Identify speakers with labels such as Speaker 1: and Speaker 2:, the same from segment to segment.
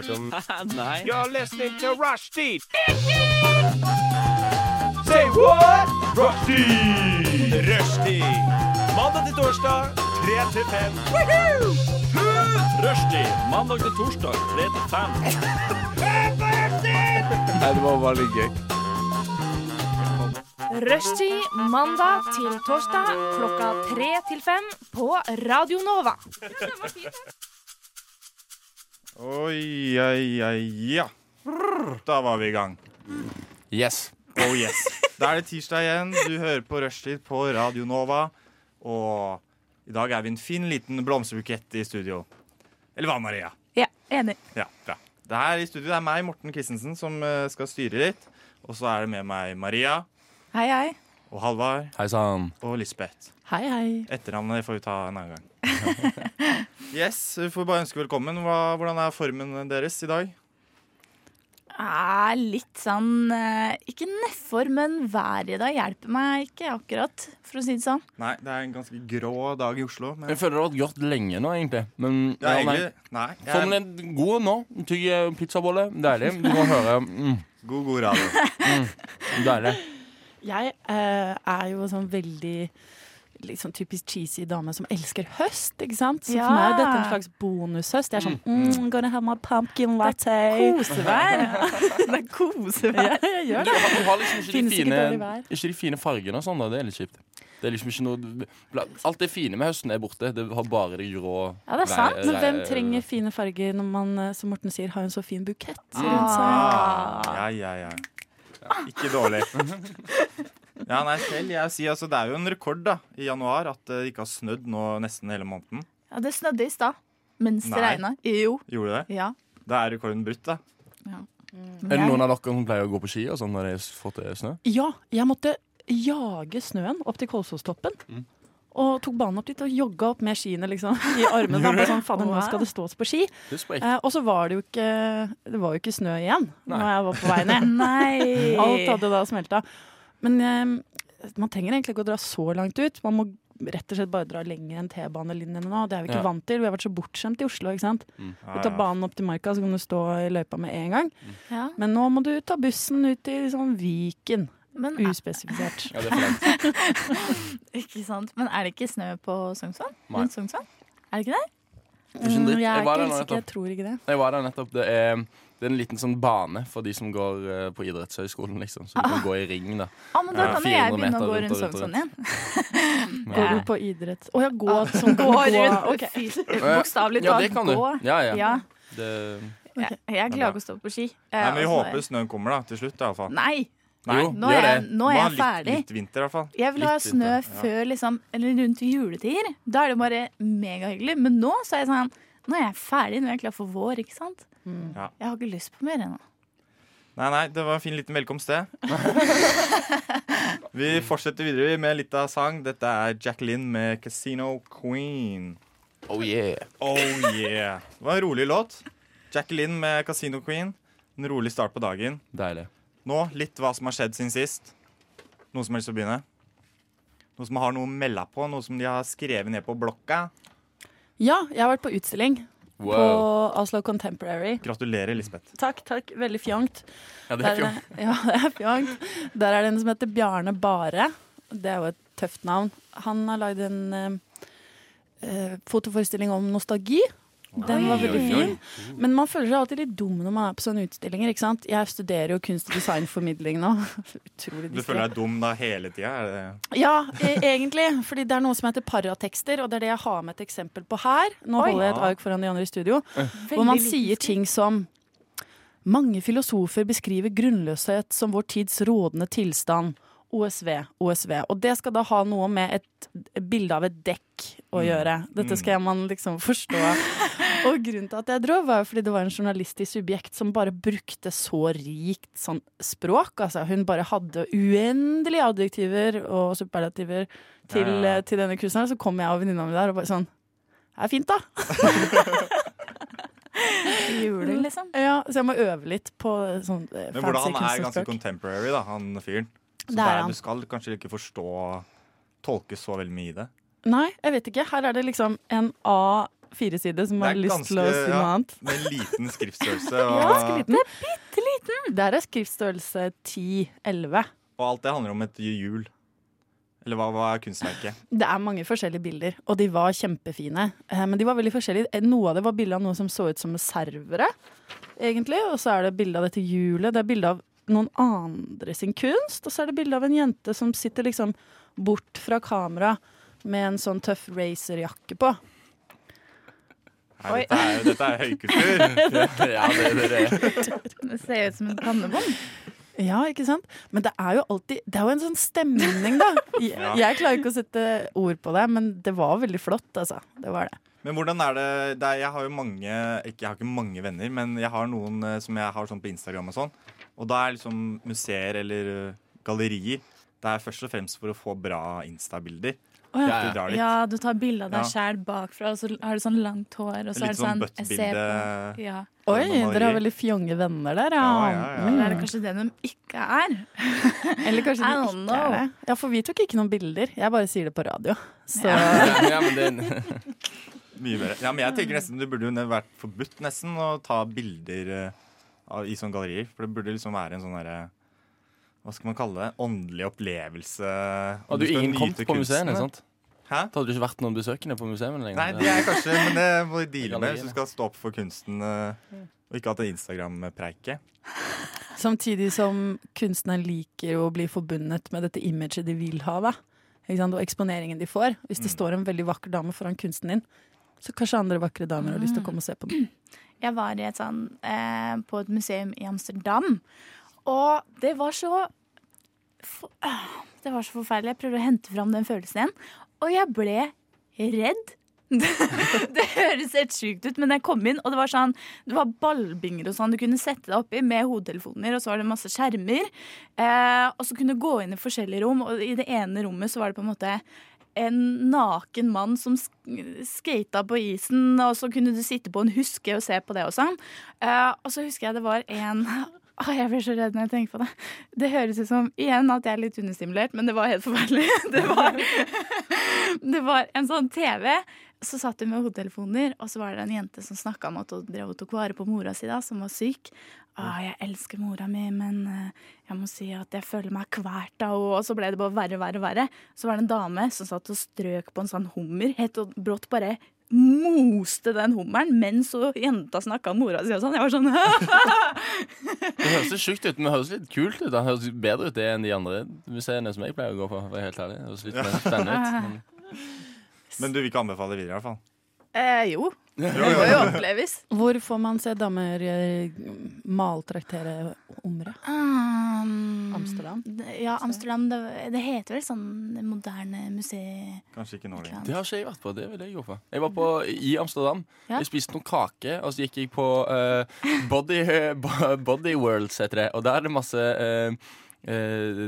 Speaker 1: Nei.
Speaker 2: You're listening to Rushdie. Say what? Rushdie. Rushdie. Mandag til torsdag, 3 til 5.
Speaker 1: Rushdie mandag til torsdag 3 til 5.
Speaker 3: Nei, det var veldig gøy.
Speaker 4: Rushtid mandag til torsdag klokka tre til fem på Radio Nova.
Speaker 2: Oi, oi, oi, ja. Da var vi i gang.
Speaker 3: Yes.
Speaker 2: Oh yes. Da er det tirsdag igjen. Du hører på Rushtid på Radio Nova. Og i dag er vi en fin liten blomsterbukett i studio. Eller hva, Maria?
Speaker 5: Ja, enig.
Speaker 2: Ja, bra. Det er her i studio det er meg, Morten Christensen, som eh, skal styre litt. Og så er det med meg Maria
Speaker 5: Hei, hei.
Speaker 2: og Halvard
Speaker 3: Hei sann.
Speaker 2: og Lisbeth.
Speaker 5: Hei, hei.
Speaker 2: Etternavnet får vi ta en annen gang. Yes, vi får bare ønske velkommen. Hva, hvordan er formen deres i dag?
Speaker 5: Er Ah, litt sånn eh, Ikke nedfor, men været i dag hjelper meg ikke akkurat, for å si det sånn.
Speaker 2: Nei, det er en ganske grå dag i Oslo. Men
Speaker 3: Jeg føler det har vært gjort lenge nå, egentlig. Men
Speaker 2: Ja,
Speaker 3: ja, nei.
Speaker 2: egentlig. Nei.
Speaker 3: Formen
Speaker 2: Jeg,
Speaker 3: er god nå. Tygg eh, pizzabolle. Deilig. Du må høre. Mm,
Speaker 2: god, god radio.
Speaker 3: deilig.
Speaker 6: Jeg eh, er jo sånn veldig liksom typisk cheesy dame som elsker høst, ikke sant? Så
Speaker 5: Ja.
Speaker 6: for meg er dette en slags bonushøst. Jeg er sånn mm, gonna have my pumpkin latte.
Speaker 5: Kosevær. det er kosevær.
Speaker 6: Ja, jeg gjør
Speaker 3: Du
Speaker 6: det.
Speaker 3: har, du har liksom ikke
Speaker 6: Finnes
Speaker 3: de,
Speaker 6: ikke
Speaker 3: fine,
Speaker 6: dårlig vær.
Speaker 3: ikke de fine fargene og sånn. da, Det er litt kjipt. Det er liksom ikke noe bla- Alt det fine med høsten er borte. Det har bare det grå
Speaker 5: Ja, det er sant,
Speaker 3: været-
Speaker 6: Men hvem
Speaker 3: været-
Speaker 6: trenger fine farger når man, eh, som Morten sier, har en så fin bukett?
Speaker 2: Ah, ja, ja, ja. Ikke dårlig. Ja, nei, selv jeg sier altså, Det er jo en rekord da, i januar at det ikke har snødd nå nesten hele måneden.
Speaker 5: Ja, det snødde i stad. Mens det
Speaker 2: Nei.
Speaker 5: regna. Jo.
Speaker 2: Gjorde det?
Speaker 5: Ja.
Speaker 2: Da er rekorden brutt, da.
Speaker 3: Er det noen av dere som pleier å gå på ski og sånn når det er fått det er snø?
Speaker 6: Ja, jeg måtte jage snøen opp til Kolsåstoppen.
Speaker 5: Mm.
Speaker 6: Og tok banen opp dit og jogga opp med skiene liksom, i armene. da, på sånn, fader, nå skal det stås på ski.
Speaker 3: Det er sprekt.
Speaker 6: Eh, og så var det jo ikke, det var jo ikke snø igjen
Speaker 3: Nei.
Speaker 6: når jeg var på vei ned.
Speaker 5: Nei.
Speaker 6: Alt hadde da smelta. Men eh, man trenger egentlig ikke å dra så langt ut. Man må rett og slett bare dra lenger enn T-banelinjene nå. Det er vi ikke
Speaker 3: Ja.
Speaker 6: vant til. Vi har vært så bortskjemt i Oslo. ikke sant?
Speaker 2: Ja,
Speaker 6: Du
Speaker 2: ja.
Speaker 6: tar banen opp til Marka, så kan du stå i løypa med en gang.
Speaker 5: Ja.
Speaker 6: Men nå må du ta bussen ut til sånn Viken.
Speaker 5: Men,
Speaker 6: Uspesifisert.
Speaker 3: Ja, det er for langt.
Speaker 5: ikke sant. Men er det ikke snø på Sognsvann?
Speaker 3: Nei.
Speaker 5: Rundt Sognsvann? Er det ikke det?
Speaker 3: Det er ikke en dritt.
Speaker 6: Mm, Jeg
Speaker 3: Jeg var
Speaker 6: er ikke
Speaker 3: der
Speaker 6: helt
Speaker 3: nå
Speaker 6: sikker,
Speaker 3: nettopp.
Speaker 6: jeg tror ikke det.
Speaker 3: Jeg var der nettopp. Det er, det er en liten sånn bane for de som går eh, på idrettshøyskolen, liksom. Så du kan gå i ring, da.
Speaker 5: Ah, men da
Speaker 3: Ja,
Speaker 5: kan jo jeg begynne å
Speaker 3: 400
Speaker 5: gå
Speaker 3: meter
Speaker 5: rundt
Speaker 3: rundt og rundt og
Speaker 5: Sognsvann igjen.
Speaker 6: Går du på idrett Å ja, gå
Speaker 3: sånn,
Speaker 6: som gå rundt.
Speaker 5: Ah. Ok. Bokstavelig
Speaker 3: Ja,
Speaker 5: talt.
Speaker 3: det kan du.
Speaker 5: Gå.
Speaker 3: Ja, ja.
Speaker 5: Ja.
Speaker 3: Det,
Speaker 5: Jeg, jeg klarer ikke å stå på ski. Eh,
Speaker 2: Nei, men Vi
Speaker 5: og sånn er
Speaker 2: håper snøen kommer da, til slutt. i alle
Speaker 5: jeg.
Speaker 2: fall
Speaker 5: Nei,
Speaker 2: Nei,
Speaker 3: Jo,
Speaker 5: nå er,
Speaker 3: gjør
Speaker 5: jeg,
Speaker 3: det.
Speaker 5: nå
Speaker 2: Må
Speaker 5: er
Speaker 2: ha
Speaker 5: jeg ferdig.
Speaker 2: Litt, litt vinter, i hvert fall.
Speaker 5: Jeg vil ha
Speaker 3: Litt
Speaker 5: snø
Speaker 3: vinter,
Speaker 5: før liksom, eller rundt juletider. Da er det bare megahyggelig. Men nå så er jeg sånn Nå er jeg ferdig, nå er jeg klar for vår, ikke sant?
Speaker 2: Ja.
Speaker 5: Jeg har ikke lyst på mer ennå.
Speaker 2: Nei, nei, det var en fin liten velkomst, det. Vi fortsetter videre med litt av sang. Dette er Jacqueline med 'Casino Queen'.
Speaker 3: oh yeah.
Speaker 2: Oh yeah. Det var en rolig låt. Jacqueline med 'Casino Queen'. En rolig start på dagen.
Speaker 3: Deilig.
Speaker 2: Nå litt hva som har skjedd siden sist. Noen som har lyst til å begynne? Noen som har noe å melde på? Noe som de har skrevet ned på blokka?
Speaker 6: Ja, jeg har vært på utstilling på
Speaker 3: Wow.
Speaker 6: Oslo Contemporary.
Speaker 2: Gratulerer, Lisbeth.
Speaker 6: Takk, takk. Veldig fjongt.
Speaker 3: Ja, det
Speaker 6: Der,
Speaker 3: er jo
Speaker 6: er- ja, det er fjongt. Der er det en som heter Bjarne Bare. Det er jo et tøft navn. Han har lagd en eh, eh, fotoforestilling om nostalgi. Den var
Speaker 3: Oi,
Speaker 6: veldig
Speaker 3: oi,
Speaker 6: fin.
Speaker 3: oi.
Speaker 6: Men man føler seg alltid litt dum når man er på sånne utstillinger. ikke sant? Jeg studerer jo kunst- og designformidling nå. Utrolig
Speaker 2: Du
Speaker 6: distré.
Speaker 2: føler deg dum da hele tida? Er det
Speaker 6: Ja, e egentlig. Fordi det er noe som heter paratekster, og det er det jeg har med et eksempel på her. Nå holder jeg et ark foran de andre i studio. Hvor man sier ting som Mange filosofer beskriver grunnløshet som vår tids rådende tilstand. OSV, OSV. Og det skal da ha noe med et bilde av et dekk
Speaker 2: Mm.
Speaker 6: å gjøre. Dette skal man liksom forstå. Og grunnen til at jeg dro, var jo fordi det var en journalist i Subjekt som bare brukte så rikt sånn språk. Altså, hun bare hadde uendelige adjektiver og superlativer til,
Speaker 2: Ja, ja, ja.
Speaker 6: eh, til denne kunstneren. Så kom jeg og venninna mi der og bare sånn Det er fint, da.
Speaker 5: Julen, liksom.
Speaker 6: Ja, så jeg må øve litt på sånn eh,
Speaker 2: Men
Speaker 6: fancy
Speaker 2: hvordan han er ganske
Speaker 6: kunstnerspråk.
Speaker 2: contemporary, da, han fyren. Så
Speaker 6: Det er
Speaker 2: det er,
Speaker 6: han.
Speaker 2: du skal kanskje ikke forstå Tolke så veldig mye i det.
Speaker 6: Nei, jeg vet ikke. Her er det liksom en A fireside som
Speaker 2: Det er
Speaker 6: har lyst til å
Speaker 2: ganske-
Speaker 6: si noe
Speaker 2: ja.
Speaker 6: annet.
Speaker 2: Med en liten skriftstørrelse. Og,
Speaker 6: Det er bitte liten. Der er skriftstørrelse 10-11.
Speaker 2: og alt det handler om et hjul. Eller hva, hva er kunstverket?
Speaker 6: Det er mange forskjellige bilder, og de var kjempefine. Eh, Men de var veldig forskjellige. Eh, Noe av det var bilde av noe som så ut som servere, egentlig. Og så er det bilde av dette hjulet. Det er bilde av noen andre sin kunst. Og så er det bilde av en jente som sitter liksom bort fra kamera med en sånn tøff racerjakke på.
Speaker 2: Nei, dette er, dette er høykultur.
Speaker 3: Ja, det, det, det.
Speaker 5: Det ser ut som en pannebånd.
Speaker 6: Ja, ikke sant? Men det er jo alltid Det er jo en sånn stemning, da. Jeg, jeg klarer ikke å sette ord på det, men det var veldig flott, altså. Det var det.
Speaker 2: Men hvordan er det, det er, Jeg har jo mange ikke, Jeg har ikke mange venner, men jeg har noen eh, som jeg har sånn på Instagram og sånn. Og da er liksom museer eller eh, gallerier Det er først og fremst for å få bra Insta-bilder.
Speaker 3: ja.
Speaker 2: Du drar dit.
Speaker 5: Ja, du tar bilde av deg
Speaker 2: Ja.
Speaker 5: sjæl bakfra, og så har du sånn langt hår, og så er
Speaker 2: Litt
Speaker 5: det sånn
Speaker 2: sånn
Speaker 5: jeg ser
Speaker 2: butt-bilde.
Speaker 5: på- Ja.
Speaker 6: Oi,
Speaker 2: Maleri.
Speaker 6: dere har veldig fjonge venner der, ja.
Speaker 2: Ja, ja, ja.
Speaker 5: Eller er det kanskje det de ikke er?
Speaker 6: Mm. Eller kanskje
Speaker 5: I
Speaker 6: det
Speaker 5: don't
Speaker 6: ikke
Speaker 5: know.
Speaker 6: er det. Ja, for vi tok ikke noen bilder. Jeg bare sier det på radio. Så
Speaker 3: Ja, men det
Speaker 2: Mye bedre. Ja, men jeg tenker nesten Det burde jo ne- vært forbudt nesten å ta bilder eh, av- i sånne gallerier. For det burde liksom være en sånn derre Hva skal man kalle det? Åndelig opplevelse. og
Speaker 3: Hadde du
Speaker 2: skal
Speaker 3: ingen
Speaker 2: nyte
Speaker 3: kommet på liksom. museene,
Speaker 2: kunsten.
Speaker 3: sant?
Speaker 2: Hæ?
Speaker 3: Da hadde du ikke vært noen besøkende på museene lenger.
Speaker 2: Nei, det er kanskje Men det må du
Speaker 3: Gallerier,
Speaker 2: deale med hvis
Speaker 3: ja.
Speaker 2: du skal stå opp for kunsten. eh, Og ikke hatt det Instagram-preiket.
Speaker 6: samtidig som kunstneren liker å bli forbundet med dette imaget de vil ha, da. Ikke sant? Og eksponeringen de får. Hvis
Speaker 2: Mm.
Speaker 6: det står en veldig vakker dame foran kunsten din, så kanskje andre vakre damer har
Speaker 5: Mm.
Speaker 6: lyst til å komme og se på den.
Speaker 5: Jeg var i et sånn, eh, på et museum i Amsterdam, og det var så for, øh, Det var så forferdelig. Jeg prøvde å hente fram den følelsen igjen, og jeg ble redd. det høres helt sjukt ut, men jeg kom inn, og det var sånn Det var ballbinger og sånn du kunne sette deg oppi med hodetelefoner, og så var det masse skjermer. Eh, og så kunne du gå inn i forskjellige rom, og i det ene rommet så var det på en måte en naken mann som sk- skata på isen, og så kunne du sitte på en huske og se på det og sånn. Eh, og så husker jeg det var en Å, jeg blir så redd når jeg tenker på det. Det høres ut som igjen at jeg er litt understimulert, men det var helt forferdelig. Det var, det var en sånn TV. Så satt hun med hodetelefoner, og så var det en jente som snakka om at hun drev og tok vare på mora si, da, som var syk. Å, jeg elsker mora mi, men eh, jeg må si at jeg føler meg kvært av henne. Og så ble det bare verre, verre, verre. Så var det en dame som satt og strøk på en sånn hummer, helt og brått bare moste den hummeren mens hun jenta snakka om mora si og sånn. Jeg var sånn
Speaker 3: Det høres litt sjukt ut, men det høres litt kult ut. Det høres bedre ut det enn de andre museene som jeg pleier å gå på. For å være helt ærlig. Det høres litt mer spennende ut. Men
Speaker 2: Men du vil ikke anbefale det videre, i hvert fall.
Speaker 5: eh, Jo. Det må jo oppleves.
Speaker 6: Hvor får man se damer eh, maltraktere omre? Amsterdam?
Speaker 5: Ja, Amsterdam. Um, Det, det heter vel sånn det moderne museet
Speaker 2: Kanskje ikke nå lenger.
Speaker 3: det har ikke jeg vært på. Det vil jeg gå på. Jeg var på, i Amsterdam.
Speaker 5: Ja.
Speaker 3: Jeg spiste noen kake, og så gikk jeg på eh, Body, bo- body Worlds, heter det. Og der er det masse eh, eh,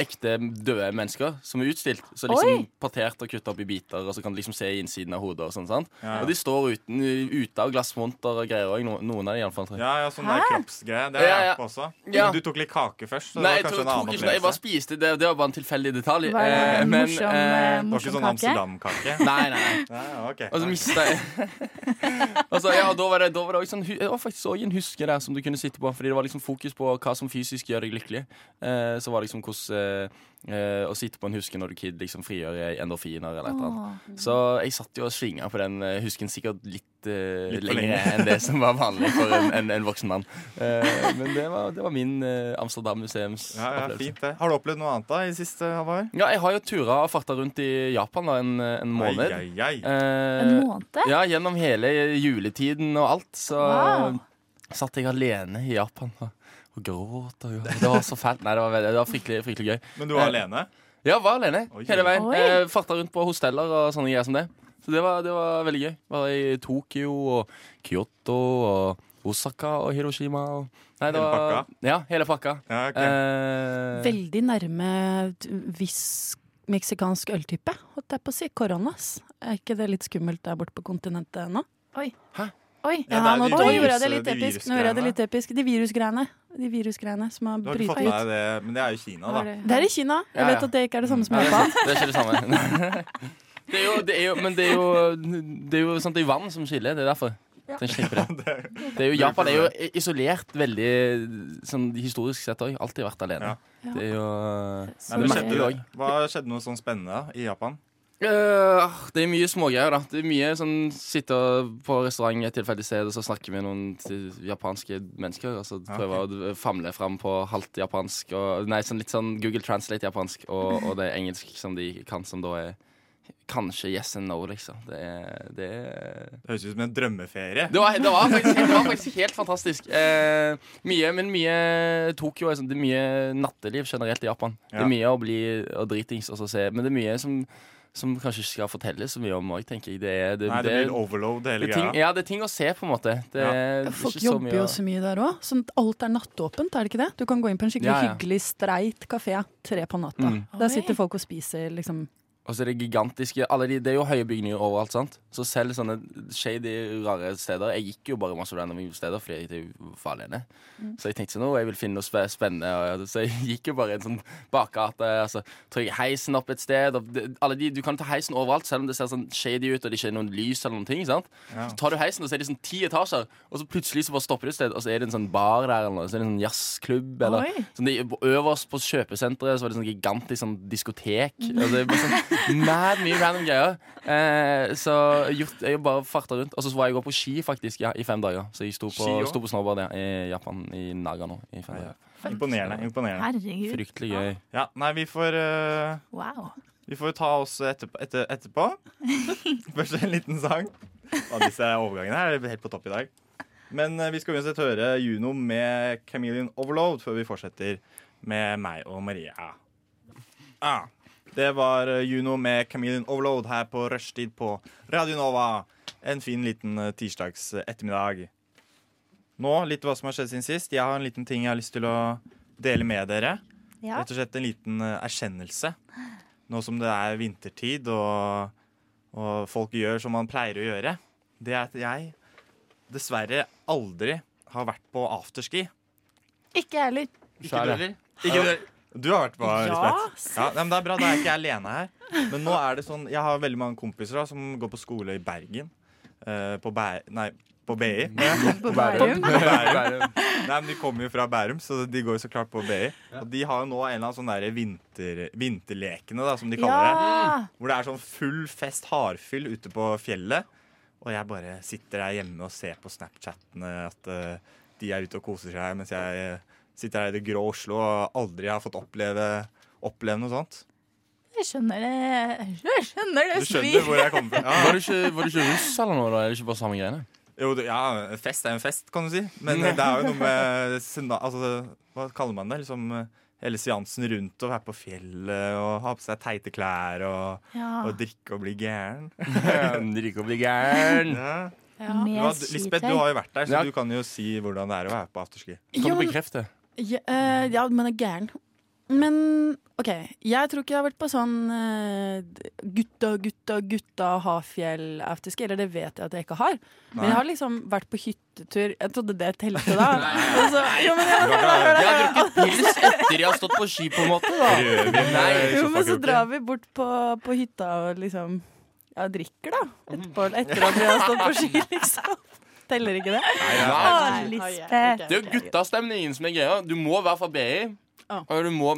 Speaker 3: ekte døde mennesker som er utstilt. Så liksom
Speaker 5: Oi!
Speaker 3: partert og kutta opp i biter, og så kan du liksom se innsiden av hodet. Og sånn, sant?
Speaker 2: Ja.
Speaker 3: Og de står uten, ute av glassmonter og greier òg, noen av de iallfall.
Speaker 2: Ja, ja, sånn der kroppsgreie. Det har
Speaker 3: Ja,
Speaker 2: jeg
Speaker 3: ja.
Speaker 2: vært på også.
Speaker 3: Ja.
Speaker 2: Men Du tok litt kake først. Så
Speaker 3: Nei,
Speaker 2: det var
Speaker 3: jeg,
Speaker 2: kanskje
Speaker 3: tror, jeg
Speaker 2: en
Speaker 3: tok
Speaker 2: annen
Speaker 3: ikke det. Jeg bare
Speaker 2: opplevelse.
Speaker 3: spiste. Det, det var bare en tilfeldig detalj.
Speaker 5: Var det
Speaker 3: Eh,
Speaker 5: en
Speaker 3: men,
Speaker 5: morsom,
Speaker 3: eh,
Speaker 5: eh,
Speaker 2: Det var ikke
Speaker 5: morsom
Speaker 2: sånn
Speaker 5: kake?
Speaker 2: Amsterdam-kake.
Speaker 3: Nei, Altså, nei, nei.
Speaker 2: Nei, ja, ok.
Speaker 3: Og så mista jeg og så, ja, da var det, da var det også sånn, hu- Det var faktisk også en huske der som du kunne sitte på. Fordi det var liksom fokus på hva som fysisk gjør deg lykkelig. Eh, så var det liksom hvordan eh, eh, å sitte på en huske når du er kid, liksom frigjør endorfiner eller et eller annet. Så jeg satt jo og svinga på den eh, husken sikkert litt, eh,
Speaker 2: Litt for
Speaker 3: lenger
Speaker 2: lenge.
Speaker 3: enn det som var vanlig for en, en, en voksen mann. Eh, men det var, det var min eh, Amsterdam-museums
Speaker 2: Ja, ja,
Speaker 3: opplevelse.
Speaker 2: fint det. Har du opplevd noe annet da i siste halvår?
Speaker 3: Ja, jeg har jo tura og farta rundt i Japan da, en, en måned.
Speaker 2: Ai, ai, ai.
Speaker 3: Eh,
Speaker 5: En måned?
Speaker 3: Ja, gjennom hele juletiden og alt. Så
Speaker 5: Wow.
Speaker 3: satt jeg alene i Japan og, og gråt. Og, og det var så fælt. Nei, det var, veldig- det var fryktelig, fryktelig gøy.
Speaker 2: Men du var
Speaker 3: Eh,
Speaker 2: alene?
Speaker 3: Ja, var alene
Speaker 2: Oi.
Speaker 3: hele veien.
Speaker 5: Oi.
Speaker 3: Eh, farta rundt på hosteller og sånne greier som det. Så det var, det var veldig gøy. Var i Tokyo og Kyoto og Osaka og Hiroshima og Nei, det
Speaker 2: Hele
Speaker 3: var,
Speaker 2: pakka?
Speaker 3: Ja, hele pakka.
Speaker 2: Ja, ok.
Speaker 3: Eh,
Speaker 6: Veldig nærme t- viss meksikansk øltype, holdt jeg på å si. Coronas. Er ikke det litt skummelt der borte på kontinentet nå?
Speaker 5: Oi.
Speaker 2: Ja,
Speaker 6: Ja,
Speaker 2: det er
Speaker 6: nå
Speaker 2: de
Speaker 6: nå
Speaker 2: virus-
Speaker 6: gjorde jeg det litt
Speaker 2: de
Speaker 6: episk. Nå gjorde jeg det litt episk. De virusgreiene. De virusgreiene som har
Speaker 2: Du har ikke
Speaker 6: brytet
Speaker 2: fått med
Speaker 6: ut.
Speaker 2: deg det, men det er jo Kina, da.
Speaker 6: Det er i Kina. Jeg
Speaker 3: Ja, ja.
Speaker 6: vet at det ikke er det samme som
Speaker 3: nei,
Speaker 6: i
Speaker 3: det, er
Speaker 6: Japan.
Speaker 3: sant. det er ikke det samme. Det er jo, det er jo, men det er jo, det er jo sant, det er vann som skiller. Det er derfor. Den slipper det. det er jo, Japan er jo isolert veldig sånn, historisk sett òg. Alltid vært alene.
Speaker 2: Ja.
Speaker 3: Det er jo
Speaker 2: Nei, men
Speaker 3: Det
Speaker 2: skjedde,
Speaker 3: merker jeg
Speaker 2: det- hva skjedde noe sånn spennende i Japan?
Speaker 3: Eh, det er mye smågreier, da. Det er mye sånn sitte på restaurant et tilfeldig sted, og så snakke med noen t- japanske mennesker, og så prøve å famle fram på halvt japansk og Nei, sånn litt sånn Google Translate japansk og, og det engelsk som de kan, som da er Kanskje yes and no, liksom. Det er, det er
Speaker 2: Det høres ut som en drømmeferie.
Speaker 3: det var, det, var faktisk, det var faktisk helt fantastisk. Eh, mye, men mye Tokyo er sånn, det er mye natteliv generelt i Japan. Det
Speaker 2: Ja.
Speaker 3: er mye å bli og dritings og så se, men det er mye som, som kanskje ikke skal fortelles så mye om òg, tenker jeg. Det er, det,
Speaker 2: Nei, det blir overload hele
Speaker 3: det er ting,
Speaker 2: greia.
Speaker 3: ja, det er ting å se, på en måte. Det
Speaker 2: Ja.
Speaker 3: er ikke
Speaker 6: Folk
Speaker 3: så mye
Speaker 6: jobber jo
Speaker 3: å-
Speaker 6: så mye der òg. Sånn at alt er nattåpent, er det ikke det? Du kan gå inn på en skikkelig
Speaker 3: Ja, ja.
Speaker 6: hyggelig, streit kafé tre på natta.
Speaker 3: Mm.
Speaker 6: Der sitter folk og spiser, liksom.
Speaker 3: Og så er det gigantiske alle de, Det er jo høye bygninger overalt, sant? Så selv sånne shady, rare steder Jeg gikk jo bare masse random steder fordi jeg var alene. Så jeg tenkte sånn, «Å, jeg vil finne noe spe- spennende. Og, så jeg gikk jo bare en sånn bakgate. Og så tok jeg heisen opp et sted. Og det, alle de, du kan ta heisen overalt, selv om det ser sånn shady ut og det ikke er noen lys eller noen ting. sant? Så tar du heisen, og så er det sånn ti etasjer, og så plutselig så bare stopper du et sted, og så er det en sånn bar der, eller noe, så er det en sånn jazzklubb, eller
Speaker 5: Oi.
Speaker 3: Sånn, de, øverst på kjøpesenteret så var det sånn gigantisk sånn diskotek. Og det var sånn mad mye random greier. Eh, så gjort, jeg bare farta rundt. Og så var jeg også på ski faktisk ja, i fem dager. Så jeg sto på,
Speaker 2: Ski også?
Speaker 3: sto på snowboard ja, i Japan, i Nagano, i fem dager.
Speaker 2: Imponerende. imponerende.
Speaker 5: Herregud.
Speaker 3: Fryktelig gøy.
Speaker 2: Ja, nei, vi får eh,
Speaker 5: Wow.
Speaker 2: Vi får jo ta oss etterpå. Etter, etterpå. Først en liten sang. Og disse overgangene her er helt på topp i dag. Men eh, vi skal uansett høre Juno med 'Chameleon Overload' før vi fortsetter med meg og Maria. Ah, det var eh, Juno med 'Chameleon Overload' her på rushtid på Radio Nova. En fin liten eh, tirsdags eh, ettermiddag. Nå litt hva som har skjedd siden sist. Jeg har en liten ting jeg har lyst til å dele med dere.
Speaker 5: Ja.
Speaker 2: Rett og slett en liten eh, erkjennelse. Nå som det er vintertid, og, og folk gjør som man pleier å gjøre. Det er at jeg dessverre aldri har vært på afterski.
Speaker 5: Ikke jeg heller.
Speaker 3: Ikke du heller?
Speaker 2: Ikke det? Du har vært på, Lisbeth.
Speaker 5: se.
Speaker 2: Ja, nei, men det er bra, da er ikke jeg alene her. Men nå er det sånn, jeg har veldig mange kompiser da, som går på skole i Bergen. eh, på Bæ... Nei, på BI.
Speaker 5: På
Speaker 2: Bærum.
Speaker 5: Bærum.
Speaker 2: På Bærum. Nei, men De kommer jo fra Bærum, så de går jo så klart på BI. Og de har jo nå en eller annen sånn derre vinter, vinterlekene, da, som de kaller det.
Speaker 5: Ja.
Speaker 2: Hvor det er sånn full fest, hardfyll ute på fjellet. Og jeg bare sitter der hjemme og ser på Snapchattene at eh, de er ute og koser seg, mens jeg eh, sitter her i det grå Oslo og aldri har fått oppleve, oppleve noe sånt.
Speaker 5: Jeg skjønner det. Jeg skjønner det
Speaker 2: Du skjønner
Speaker 5: svir.
Speaker 2: hvor jeg kommer fra.
Speaker 3: Var
Speaker 2: Ja.
Speaker 3: du ikke, var du ikke russ eller noe? da? Er det ikke bare samme greiene?
Speaker 2: Jo, du- ja, fest er en fest, kan du si. Men det er jo noe med sena- altså, Hva kaller man det? Liksom, eh, hele seansen rundt å være på fjellet og ha på seg teite klær og,
Speaker 5: Ja.
Speaker 2: og drikke og bli gæren.
Speaker 3: Drikke og bli gæren.
Speaker 2: Ja.
Speaker 5: Med
Speaker 2: Ja, du-
Speaker 5: skitøy.
Speaker 2: Lisbeth, du har jo vært der, så
Speaker 3: Ja.
Speaker 2: du kan jo si hvordan det er å være på afterski.
Speaker 3: Kan
Speaker 6: Jo,
Speaker 3: du
Speaker 6: men-
Speaker 3: bekrefte?
Speaker 6: Ja, eh, ja, men det er gæren. Men OK, jeg tror ikke jeg har vært på sånn eh, gutta, gutta, gutta, Hafjell-afterski. Eller det vet jeg at jeg ikke har. Men jeg har liksom vært på hyttetur. Jeg trodde det telte da. Og så, jo, men, jeg,
Speaker 3: De har drukket pils etter de har stått på ski, på en måte. da
Speaker 2: eh,
Speaker 3: Nei.
Speaker 6: jo, men så drar vi bort på, på hytta og liksom Ja, drikker, da.
Speaker 2: Mm.
Speaker 6: Etterpå, etter at vi har stått på ski, liksom. Teller ikke det?
Speaker 5: Å,
Speaker 3: Nei.
Speaker 5: Lisbeth.
Speaker 3: Det er jo guttastemningen som er greia. Du må være fra BI.
Speaker 6: Ja.
Speaker 3: Og du må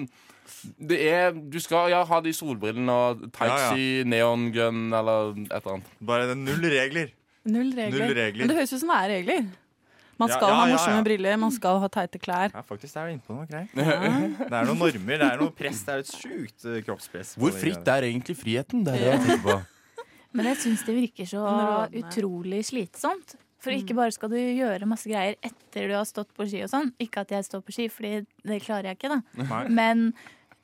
Speaker 3: det er, Du skal ja, ha de solbrillene og tights
Speaker 2: Ja, ja.
Speaker 3: i neongrønn eller et eller annet.
Speaker 2: Bare det er null regler.
Speaker 6: Null regler.
Speaker 2: Null regler.
Speaker 6: Men det høres ut som det er regler. Man
Speaker 2: Ja,
Speaker 6: skal
Speaker 2: ja,
Speaker 6: ha
Speaker 2: ja,
Speaker 6: morsomme
Speaker 2: ja.
Speaker 6: briller, man skal ha teite klær.
Speaker 2: Ja, faktisk, det er du inne på noe greier. Det er noen normer, det er noe press. Det er et sjukt eh, kroppspress. på
Speaker 3: Hvor
Speaker 2: de
Speaker 3: fritt
Speaker 2: greiene.
Speaker 3: er egentlig friheten? Det er det jeg tenker på.
Speaker 5: Men jeg syns det virker så
Speaker 6: Underholdende.
Speaker 5: utrolig slitsomt. For ikke bare skal du gjøre masse greier etter du har stått på ski og sånn. Ikke at jeg står på ski, fordi det klarer jeg ikke, da.
Speaker 2: Nei.
Speaker 5: Men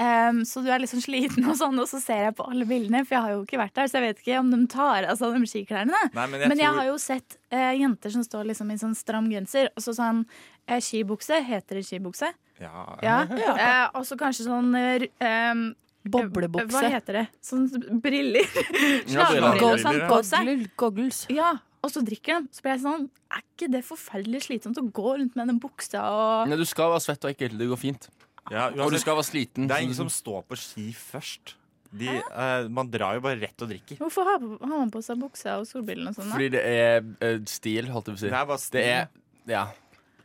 Speaker 5: ehm, Så du er liksom sliten og sånn, og så ser jeg på alle bildene, for jeg har jo ikke vært der, så jeg vet ikke om de tar av seg de skiklærne.
Speaker 2: Nei, men jeg
Speaker 5: Men jeg
Speaker 2: tror-
Speaker 5: har jo sett eh, jenter som står liksom i sånn stram genser, og så sånn eh, skibukse. Heter det skibukse?
Speaker 2: Ja,
Speaker 5: Ja. Eh, og så kanskje sånn eh, ru- ehm, Hva
Speaker 6: Boblebukse.
Speaker 5: heter det? Sånn briller.
Speaker 3: Ja, briller.
Speaker 5: Slangebriller og sånn på seg.
Speaker 6: Goggle- Goggles.
Speaker 5: Ja, og så drikker de. Så ble jeg sånn Er ikke det forferdelig slitsomt å gå rundt med den buksa og
Speaker 3: Nei, du skal være svett og ekkel. Det går fint.
Speaker 2: ja,
Speaker 3: Og du
Speaker 2: uansett,
Speaker 3: skal være sliten.
Speaker 2: det er ingen
Speaker 3: så
Speaker 2: som
Speaker 3: du-
Speaker 2: står på ski først. De, eh, man drar jo bare rett og drikker.
Speaker 5: Hvorfor har, har man på seg buksa og solbrillene og sånn? da?
Speaker 3: Fordi det er eh, stil, holdt jeg på å si.
Speaker 2: Det er bare
Speaker 3: Det er Ja.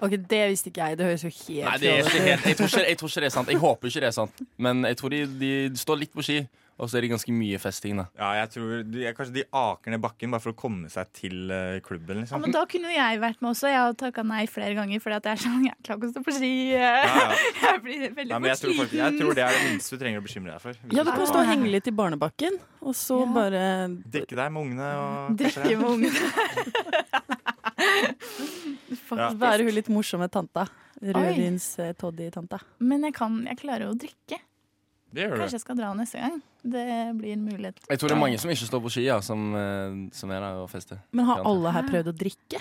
Speaker 6: Ok, Det visste ikke jeg. Det høres jo helt
Speaker 3: Nei, det er ikke
Speaker 6: fjollet ut.
Speaker 3: helt jeg tror ikke, jeg tror ikke det er sant. Jeg håper ikke det er sant. Men jeg tror de, de står litt på ski, og så er det ganske mye festing, da.
Speaker 2: Ja, jeg tror de, Kanskje de aker ned bakken bare for å komme seg til eh, klubben,
Speaker 5: Ja,
Speaker 2: liksom.
Speaker 5: men da kunne jo jeg vært med også. Jeg har takka nei flere ganger fordi at jeg er sånn Jeg klarer ikke å stå på ski.
Speaker 2: Ja, ja.
Speaker 5: Jeg blir veldig
Speaker 2: Nei, men jeg
Speaker 5: fort
Speaker 2: tror, faktisk, jeg
Speaker 5: sliten.
Speaker 2: tror det er det minste du trenger å bekymre deg for. Hvis
Speaker 6: Ja, du kan
Speaker 2: skal
Speaker 6: stå og henge litt i barnebakken, og så
Speaker 5: Ja.
Speaker 6: bare
Speaker 2: Drikke deg med ungene og
Speaker 5: Drikke med ungene.
Speaker 2: Ja.
Speaker 6: være hun litt morsomme tanta. eh, Rødvins-toddy-tanta.
Speaker 5: Men jeg kan, jeg klarer jo å drikke.
Speaker 2: Det gjør du.
Speaker 5: Kanskje jeg skal dra neste gang. Det blir en mulighet.
Speaker 3: Jeg tror det er mange som ikke står på ski, ja, som, eh, som er der og fester.
Speaker 6: Men har alle her prøvd å drikke?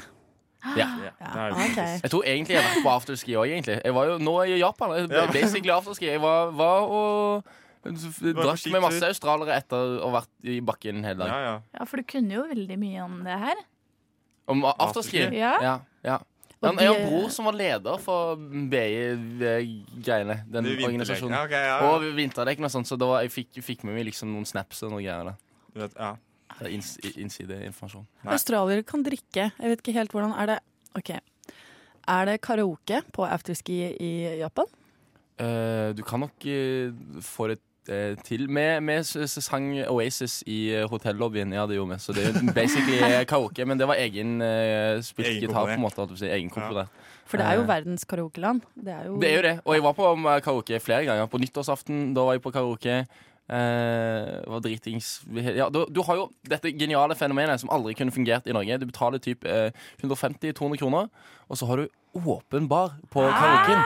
Speaker 3: Ja.
Speaker 2: Ja, det
Speaker 5: Ah,
Speaker 6: Ja,
Speaker 2: er det.
Speaker 6: ok.
Speaker 3: Jeg tror egentlig jeg har vært på afterski òg, egentlig. Jeg var jo nå er jeg i Japan. Jeg ble basically afterski. Jeg var, var og drakk
Speaker 2: skitur.
Speaker 3: med masse australiere etter å ha vært i bakken
Speaker 2: Ja,
Speaker 3: hele dagen.
Speaker 2: ja.
Speaker 5: Ja, for du kunne jo veldig mye om det her.
Speaker 3: Om afterski?
Speaker 2: Afterski.
Speaker 5: Ja.
Speaker 3: Ja, ja.
Speaker 6: Og
Speaker 3: Han, jeg har
Speaker 6: de-
Speaker 3: en bror som var leder for BI-greiene. Den
Speaker 2: Du vinterdekk.
Speaker 3: organisasjonen.
Speaker 2: Ja, ok, ja, ja.
Speaker 3: Og vinterdekken og sånt, så da var, jeg fikk, fikk med meg liksom noen snaps og noen greier. Da.
Speaker 2: Du vet, ja.
Speaker 3: Det er inns, Innsideinformasjon.
Speaker 2: Nei.
Speaker 6: Australiere kan drikke. Jeg vet ikke helt hvordan Er det Ok. Er det karaoke på afterski i Japan?
Speaker 3: Eh, du kan nok eh, få det eh, til. Vi, vi s- s- sang Oasis i eh, hotellobbyen. Ja, det gjorde vi. Så det er jo basically eh, karaoke. Men det var egen eh, spilt
Speaker 2: Egen
Speaker 3: gitar, på
Speaker 2: komponert.
Speaker 3: en måte. holdt jeg på å si. Egen komponert.
Speaker 6: For det er jo
Speaker 3: Eh.
Speaker 6: verdens karaokeland. Det er jo,
Speaker 3: Det er jo det. Og jeg var på eh, karaoke flere ganger. På nyttårsaften da var jeg på karaoke. Eh, var dritings ja, du, du har jo dette geniale fenomenet som aldri kunne fungert i Norge. Du betaler typ eh, 150-200 kroner, og så har du åpen bar på karaoken.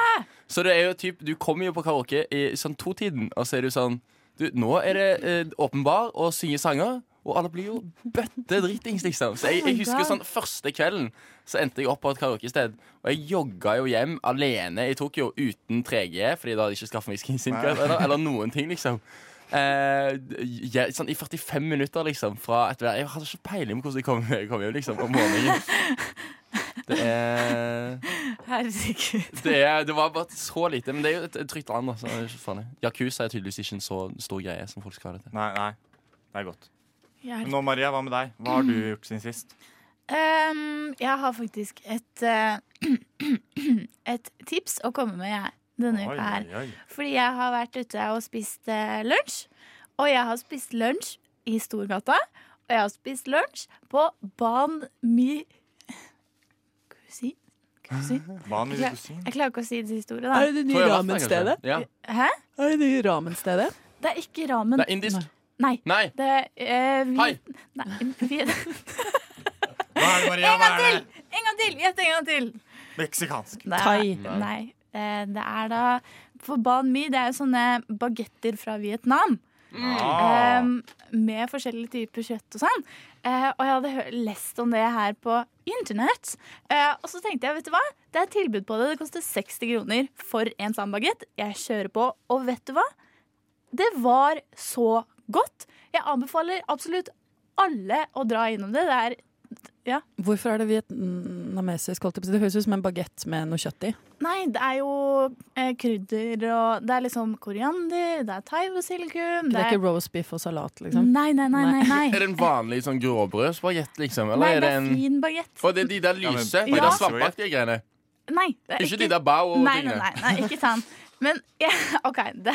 Speaker 3: Så det er jo typ Du kommer jo på karaoke i sånn to-tiden, og så er du sånn du, Nå er det eh, åpen bar og synge sanger. Og alle blir jo bøtte dritings, liksom. Så jeg, jeg husker sånn første kvelden så endte jeg opp på et karaokested. Og jeg jogga jo hjem alene i Tokyo uten 3G, fordi da hadde jeg ikke skaffet meg skinsinkøp eller, eller noen ting, liksom. Eh, jeg, sånn I 45 minutter, liksom. Fra et, jeg hadde ikke peiling på hvordan jeg kom, kom hjem liksom, om morgenen. Det er,
Speaker 5: Herregud.
Speaker 3: det er Det var bare så lite. Men det er jo et, et trygt land. da, så det er ikke farlig. Yakuza er tydeligvis ikke en så stor greie som folk skal ha det til.
Speaker 2: Nei, nei. Det er godt.
Speaker 5: Jeg,
Speaker 2: Nå, Maria, hva med deg? Hva har du gjort siden sist?
Speaker 5: um, jeg har faktisk et, eh, et tips å komme med jeg, denne uka her.
Speaker 2: oi.
Speaker 5: Fordi jeg har vært ute og spist eh, lunsj. Og jeg har spist lunsj i Storgata. Og jeg har spist lunsj på Ban Mi Kusin? Kusin?
Speaker 2: Hva med
Speaker 5: Ja.
Speaker 2: kusin?
Speaker 5: Jeg klarer ikke å si det siste ordet,
Speaker 6: Er
Speaker 5: da.
Speaker 6: det det
Speaker 3: Tror
Speaker 6: nye
Speaker 3: jeg har vært der,
Speaker 6: ramenstedet?
Speaker 3: kanskje. Ja.
Speaker 5: Hæ?
Speaker 6: Er det det nye ramenstedet?
Speaker 5: Det er ikke ramen.
Speaker 3: Det er indisk.
Speaker 5: Nei.
Speaker 3: Nei!
Speaker 5: Det eh, vi,
Speaker 3: Hei!
Speaker 5: Nei, vi,
Speaker 2: Hva er det, Maria? Hva er det?
Speaker 5: en gang til! Gjett en gang til.
Speaker 2: Meksikansk.
Speaker 5: Det er,
Speaker 6: Thai.
Speaker 5: Nei. Eh, Det er da For Ban Mi, det er jo sånne bagetter fra Vietnam. Mm.
Speaker 2: Ah.
Speaker 5: Em, med forskjellige typer kjøtt og sånn. Eh, og jeg hadde hø- lest om det her på internett. Eh, og så tenkte jeg, vet du hva? Det er tilbud på det. Det koster 60 kroner for en sånn bagett. Jeg kjører på. Og vet du hva? Det var så godt. Jeg anbefaler absolutt alle å dra innom det. Det er
Speaker 6: Hvorfor er det vietnamesisk? holdt jeg på å si? Det høres ut som en bagett med noe kjøtt i.
Speaker 5: Nei, det er jo eh, krydder og Det er liksom koriander, det er thai-basilikum
Speaker 6: Det er ikke roast beef og salat, liksom.
Speaker 5: Nei, nei, nei. nei,
Speaker 3: Er
Speaker 5: nei.
Speaker 3: det en vanlig sånn gråbrødsbagett, liksom? Eller
Speaker 5: Nei, det
Speaker 3: er det
Speaker 5: er
Speaker 3: en
Speaker 5: fin bagett.
Speaker 3: Og det er de der
Speaker 2: men-
Speaker 3: lyse, de
Speaker 5: Ja.
Speaker 3: der svampaktige greiene.
Speaker 5: Nei, det er
Speaker 3: Ikke de der bao og
Speaker 5: nei, nei,
Speaker 3: tingene.
Speaker 5: nei, nei, ikke sant. Men ja, OK. Det,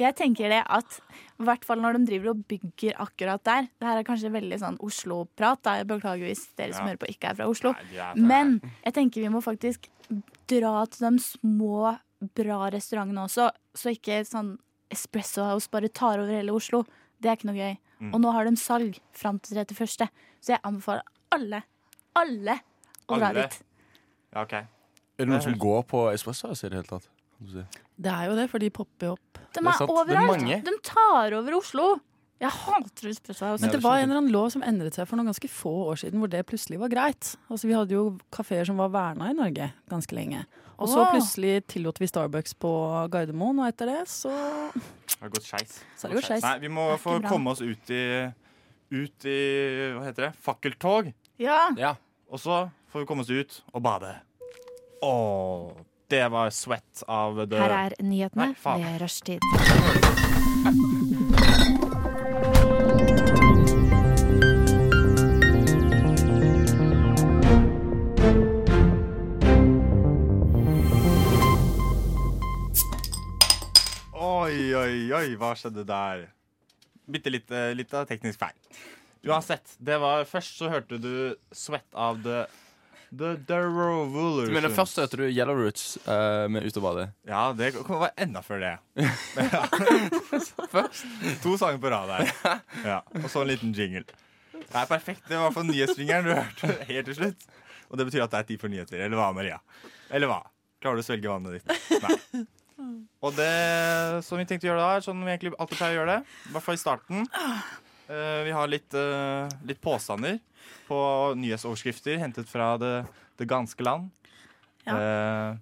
Speaker 5: jeg tenker det at i hvert fall når de driver og bygger akkurat der Det her er kanskje veldig sånn Oslo-prat. da, Jeg beklager hvis dere som
Speaker 2: Ja.
Speaker 5: hører på, ikke er fra Oslo.
Speaker 2: Nei, de er fra-
Speaker 5: Men jeg tenker vi må faktisk dra til de små, bra restaurantene også. Så ikke sånn Espresso House bare tar over hele Oslo. Det er ikke noe gøy.
Speaker 2: Mm.
Speaker 5: Og nå har de salg fram til 31., så jeg anbefaler alle, alle å dra
Speaker 2: Alle?
Speaker 5: dit.
Speaker 2: Ja, ok.
Speaker 3: Er det noen som går på espresso i det hele tatt?
Speaker 6: Det er jo det, for de popper jo opp.
Speaker 5: De
Speaker 3: Det er
Speaker 5: er,
Speaker 3: sant. Det er
Speaker 5: overalt.
Speaker 3: mange.
Speaker 5: de tar over Oslo. Jeg hater Espresso House.
Speaker 6: Men sånn det var en eller annen lov som endret seg for noen ganske få år siden, hvor det plutselig var greit. Altså, vi hadde jo kafeer som var verna i Norge ganske lenge. Og så
Speaker 5: Åh.
Speaker 6: plutselig tillot vi Starbucks på Gardermoen, og etter det så,
Speaker 2: Det har gått skeis.
Speaker 6: så er det jo skeis.
Speaker 2: Nei, vi må
Speaker 5: Det er
Speaker 2: få
Speaker 5: ikke bra.
Speaker 2: komme oss ut i, ut i Hva heter det? Fakkeltog.
Speaker 5: Ja.
Speaker 3: Ja.
Speaker 2: Og så får vi komme oss ut og bade. Åh. Det var Sweat av The
Speaker 7: Her er nyhetene
Speaker 2: Nei, faen.
Speaker 7: ved rushtid.
Speaker 2: Oi, oi, oi, hva skjedde der? Bitte litt, eh, litt av teknisk feil. Uansett, det var først så hørte du Sweat av The The, the Revolution.
Speaker 3: Men først hørte du Yellow Roots eh, med Ut og bade.
Speaker 2: Ja, det kom- var enda før det. Ja. to sanger på rad der. Ja, og så en liten jingle. Det er perfekt. Det var i hvert fall nyhetsjingelen du hørte helt til slutt. Og det betyr at det er tid for nyheter. Eller hva, Maria? Eller hva? Klarer du å svelge vannet ditt? Nei. Og det som vi tenkte å gjøre da, er sånn vi egentlig alltid pleier å gjøre det, i hvert fall i starten Eh, Vi har litt, eh, litt påstander på nyhetsoverskrifter hentet fra det, det ganske land. Eh,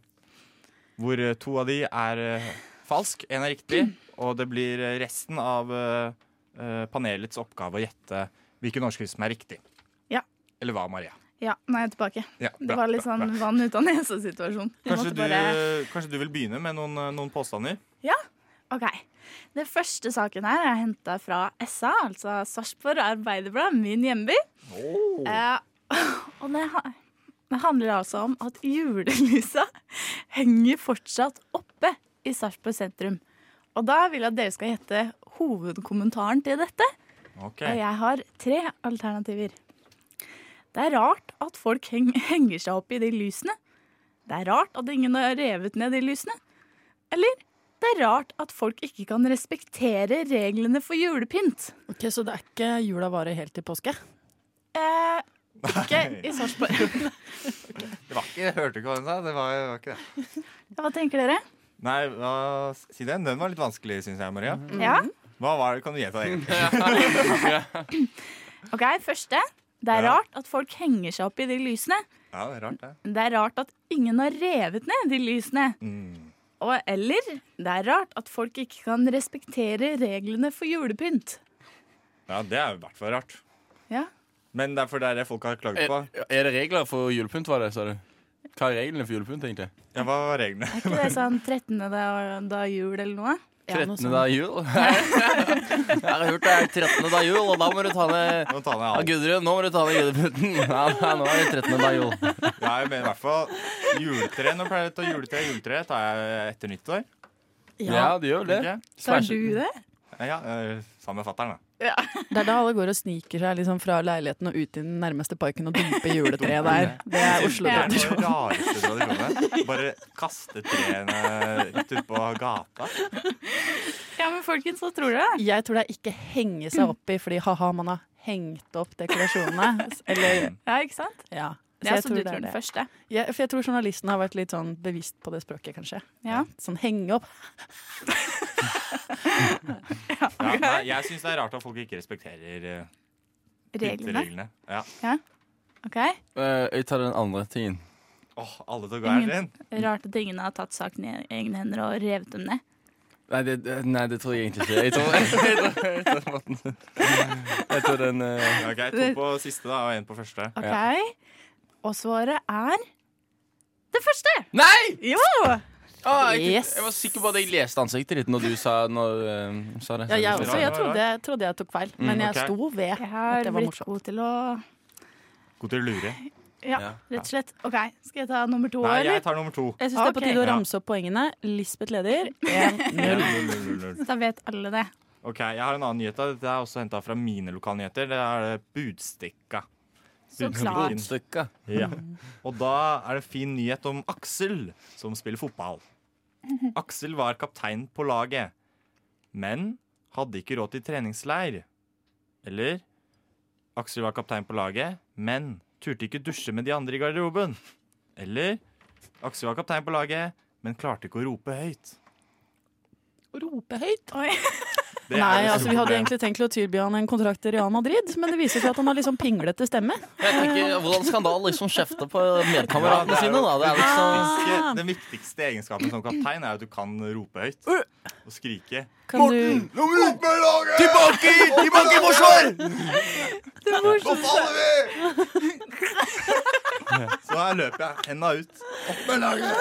Speaker 2: hvor eh, to av de er eh, falsk, én er riktig, og det blir eh, resten av eh, eh, panelets oppgave å gjette hvilken overskrift som er riktig.
Speaker 5: Ja.
Speaker 2: Eller hva, Maria?
Speaker 5: Ja, nei, jeg er tilbake.
Speaker 2: Ja,
Speaker 5: Det
Speaker 2: bra,
Speaker 5: var litt
Speaker 2: bra,
Speaker 5: sånn
Speaker 2: bra.
Speaker 5: vann ut av nesa-situasjon. Jeg
Speaker 2: Kanskje
Speaker 5: måtte
Speaker 2: du,
Speaker 5: bare-
Speaker 2: kanskje du vil begynne med noen, eh, noen påstander?
Speaker 5: Ok. Den første saken her er henta fra SA, altså Sarpsborg Arbeiderblad, min hjemby.
Speaker 2: Oh.
Speaker 5: Eh, og det, ha- det handler altså om at julelysa henger fortsatt oppe i Sarpsborg sentrum. Og da vil jeg at dere skal gjette hovedkommentaren til dette.
Speaker 2: Ok.
Speaker 5: Og jeg har tre alternativer. Det er rart at folk heng henger seg opp i de lysene. Det er rart at ingen har revet ned de lysene. Eller det er rart at folk ikke kan respektere reglene for julepynt.
Speaker 6: Ok, Så det er ikke jula varer helt til påske?
Speaker 5: Eh, ikke i Sarpsborg.
Speaker 2: Det var ikke, jeg hørte ikke hva hun sa. Det var, det var ikke det.
Speaker 5: Hva tenker dere?
Speaker 2: Nei, hva, si det. Den var litt vanskelig, syns jeg, Maria.
Speaker 5: Ja?
Speaker 2: Hva var det? Kan du gjenta det? egentlig?
Speaker 5: OK, første. Det er
Speaker 2: Ja.
Speaker 5: rart at folk henger seg opp i de lysene.
Speaker 2: Ja, det er rart, det.
Speaker 5: Det er rart at ingen har revet ned de lysene.
Speaker 2: Mm.
Speaker 5: Og eller det er rart at folk ikke kan respektere reglene for julepynt.
Speaker 2: Ja, det er i hvert fall rart.
Speaker 5: Ja.
Speaker 2: Men det er for det er det folk har klaget
Speaker 3: Er,
Speaker 2: på.
Speaker 3: er det regler for julepynt, var det, sa du? Hva er reglene for julepynt, egentlig?
Speaker 2: Ja, hva var reglene?
Speaker 5: Er ikke det sånn 13. da, da jul eller noe?
Speaker 3: 13. dag jul? Jeg har hørt det er 13. dag jul, og da må du ta ned
Speaker 2: Nå tar jeg
Speaker 3: ja,
Speaker 2: alt.
Speaker 3: Gudrun, nå må du ta ned gudepynten. Ja, nei, nå er det 13. dag jul.
Speaker 2: Ja, jeg mener i hvert fall juletre. Nå pleier jeg å ta juletre. Juletre tar jeg etter nyttår.
Speaker 3: Ja, det gjør vel det.
Speaker 2: tenker jeg.
Speaker 5: Tar du det?
Speaker 2: Ja, eh, sammen med fatter'n, da.
Speaker 6: Det er da alle går og sniker seg liksom fra leiligheten og ut i den nærmeste parken og dumper juletreet der. Det er
Speaker 2: Det
Speaker 6: Oslo-tradisjon.
Speaker 2: er den rareste tradisjonen. Bare kaste trærne rett ut på gata.
Speaker 5: Ja, men folkens, hva tror dere?
Speaker 6: Jeg tror det er ikke henge seg opp i, fordi ha-ha, man har hengt opp dekorasjonene. Eller,
Speaker 5: Ja, ikke sant?
Speaker 6: ja. sånn
Speaker 5: Det er som du tror den første.
Speaker 6: Ja, for jeg tror journalisten har vært litt sånn bevisst på det språket, kanskje.
Speaker 5: Ja.
Speaker 6: Sånn henge opp.
Speaker 2: Ja, nei, jeg syns det er rart at folk ikke respekterer eh,
Speaker 5: Reglene.
Speaker 2: reglene. Ja.
Speaker 5: Ok,
Speaker 3: Eh, jeg tar den andre tingen.
Speaker 2: Åh, alle tok hver sin.
Speaker 5: Rart at ingen har tatt saken i egne hender og revet dem ned.
Speaker 3: Nei det, det- nei, det tror jeg egentlig ikke. Jeg tror, jeg tror, jeg tror, den- jeg tror den eh,
Speaker 2: Ok, To på siste da, og én på første.
Speaker 5: Ok, Og svaret er det første!
Speaker 3: Nei!
Speaker 5: Jo!
Speaker 3: Å, jeg,
Speaker 6: Yes.
Speaker 3: jeg var sikker på at jeg leste ansiktet ditt når du sa, når, eh, sa det.
Speaker 6: Ja, jeg
Speaker 2: det
Speaker 6: også.
Speaker 2: var-
Speaker 6: Jeg trodde, trodde jeg tok feil,
Speaker 3: Mm,
Speaker 6: men jeg
Speaker 2: ok.
Speaker 6: sto ved
Speaker 5: Jeg
Speaker 6: at
Speaker 5: har
Speaker 6: det var
Speaker 5: blitt
Speaker 6: morsomt.
Speaker 5: god til å
Speaker 2: God til å lure.
Speaker 5: Ja,
Speaker 3: Ja.
Speaker 5: rett og slett. Ok, Skal jeg ta nummer to,
Speaker 2: Nei, jeg
Speaker 5: eller?
Speaker 2: tar nummer to.
Speaker 6: Jeg syns det er på
Speaker 5: Ok.
Speaker 6: tide å
Speaker 2: Ja.
Speaker 6: ramse opp poengene. Lisbeth leder 1-0.
Speaker 2: Null, null, null, null.
Speaker 5: Da vet alle det.
Speaker 2: Ok, Jeg har en annen nyhet. da. Dette er også henta fra mine lokalnyheter. Det er eh, Budstikka.
Speaker 5: Så klart.
Speaker 2: Budstikken.
Speaker 3: Stykka.
Speaker 2: Ja. Og da er det fin nyhet om Aksel, som spiller fotball. Aksel var kaptein på laget, men hadde ikke råd til treningsleir. Eller Aksel var kaptein på laget, men turte ikke dusje med de andre i garderoben. Eller Aksel var kaptein på laget, men klarte ikke å rope høyt.
Speaker 6: Rope høyt.
Speaker 5: Oi.
Speaker 2: Det er
Speaker 6: Nei,
Speaker 2: jo
Speaker 6: altså Vi hadde
Speaker 2: problem.
Speaker 6: egentlig tenkt å tilby han en kontrakt til Real Madrid, men det viser seg at han har liksom pinglete stemme.
Speaker 3: Jeg tenker, Hvordan skal han da liksom kjefte på
Speaker 2: Ja, det
Speaker 3: medkameratene
Speaker 2: er
Speaker 3: sine?
Speaker 2: jo-
Speaker 3: da? Det er
Speaker 5: Ah!
Speaker 3: liksom
Speaker 2: Ikke- Den viktigste egenskapen som kaptein er at du kan rope høyt og skrike.
Speaker 6: Kan du,
Speaker 2: Tilbake! Tilbake i forsvar! Nå faller vi! Så her løper jeg henda ut. Opp med laget!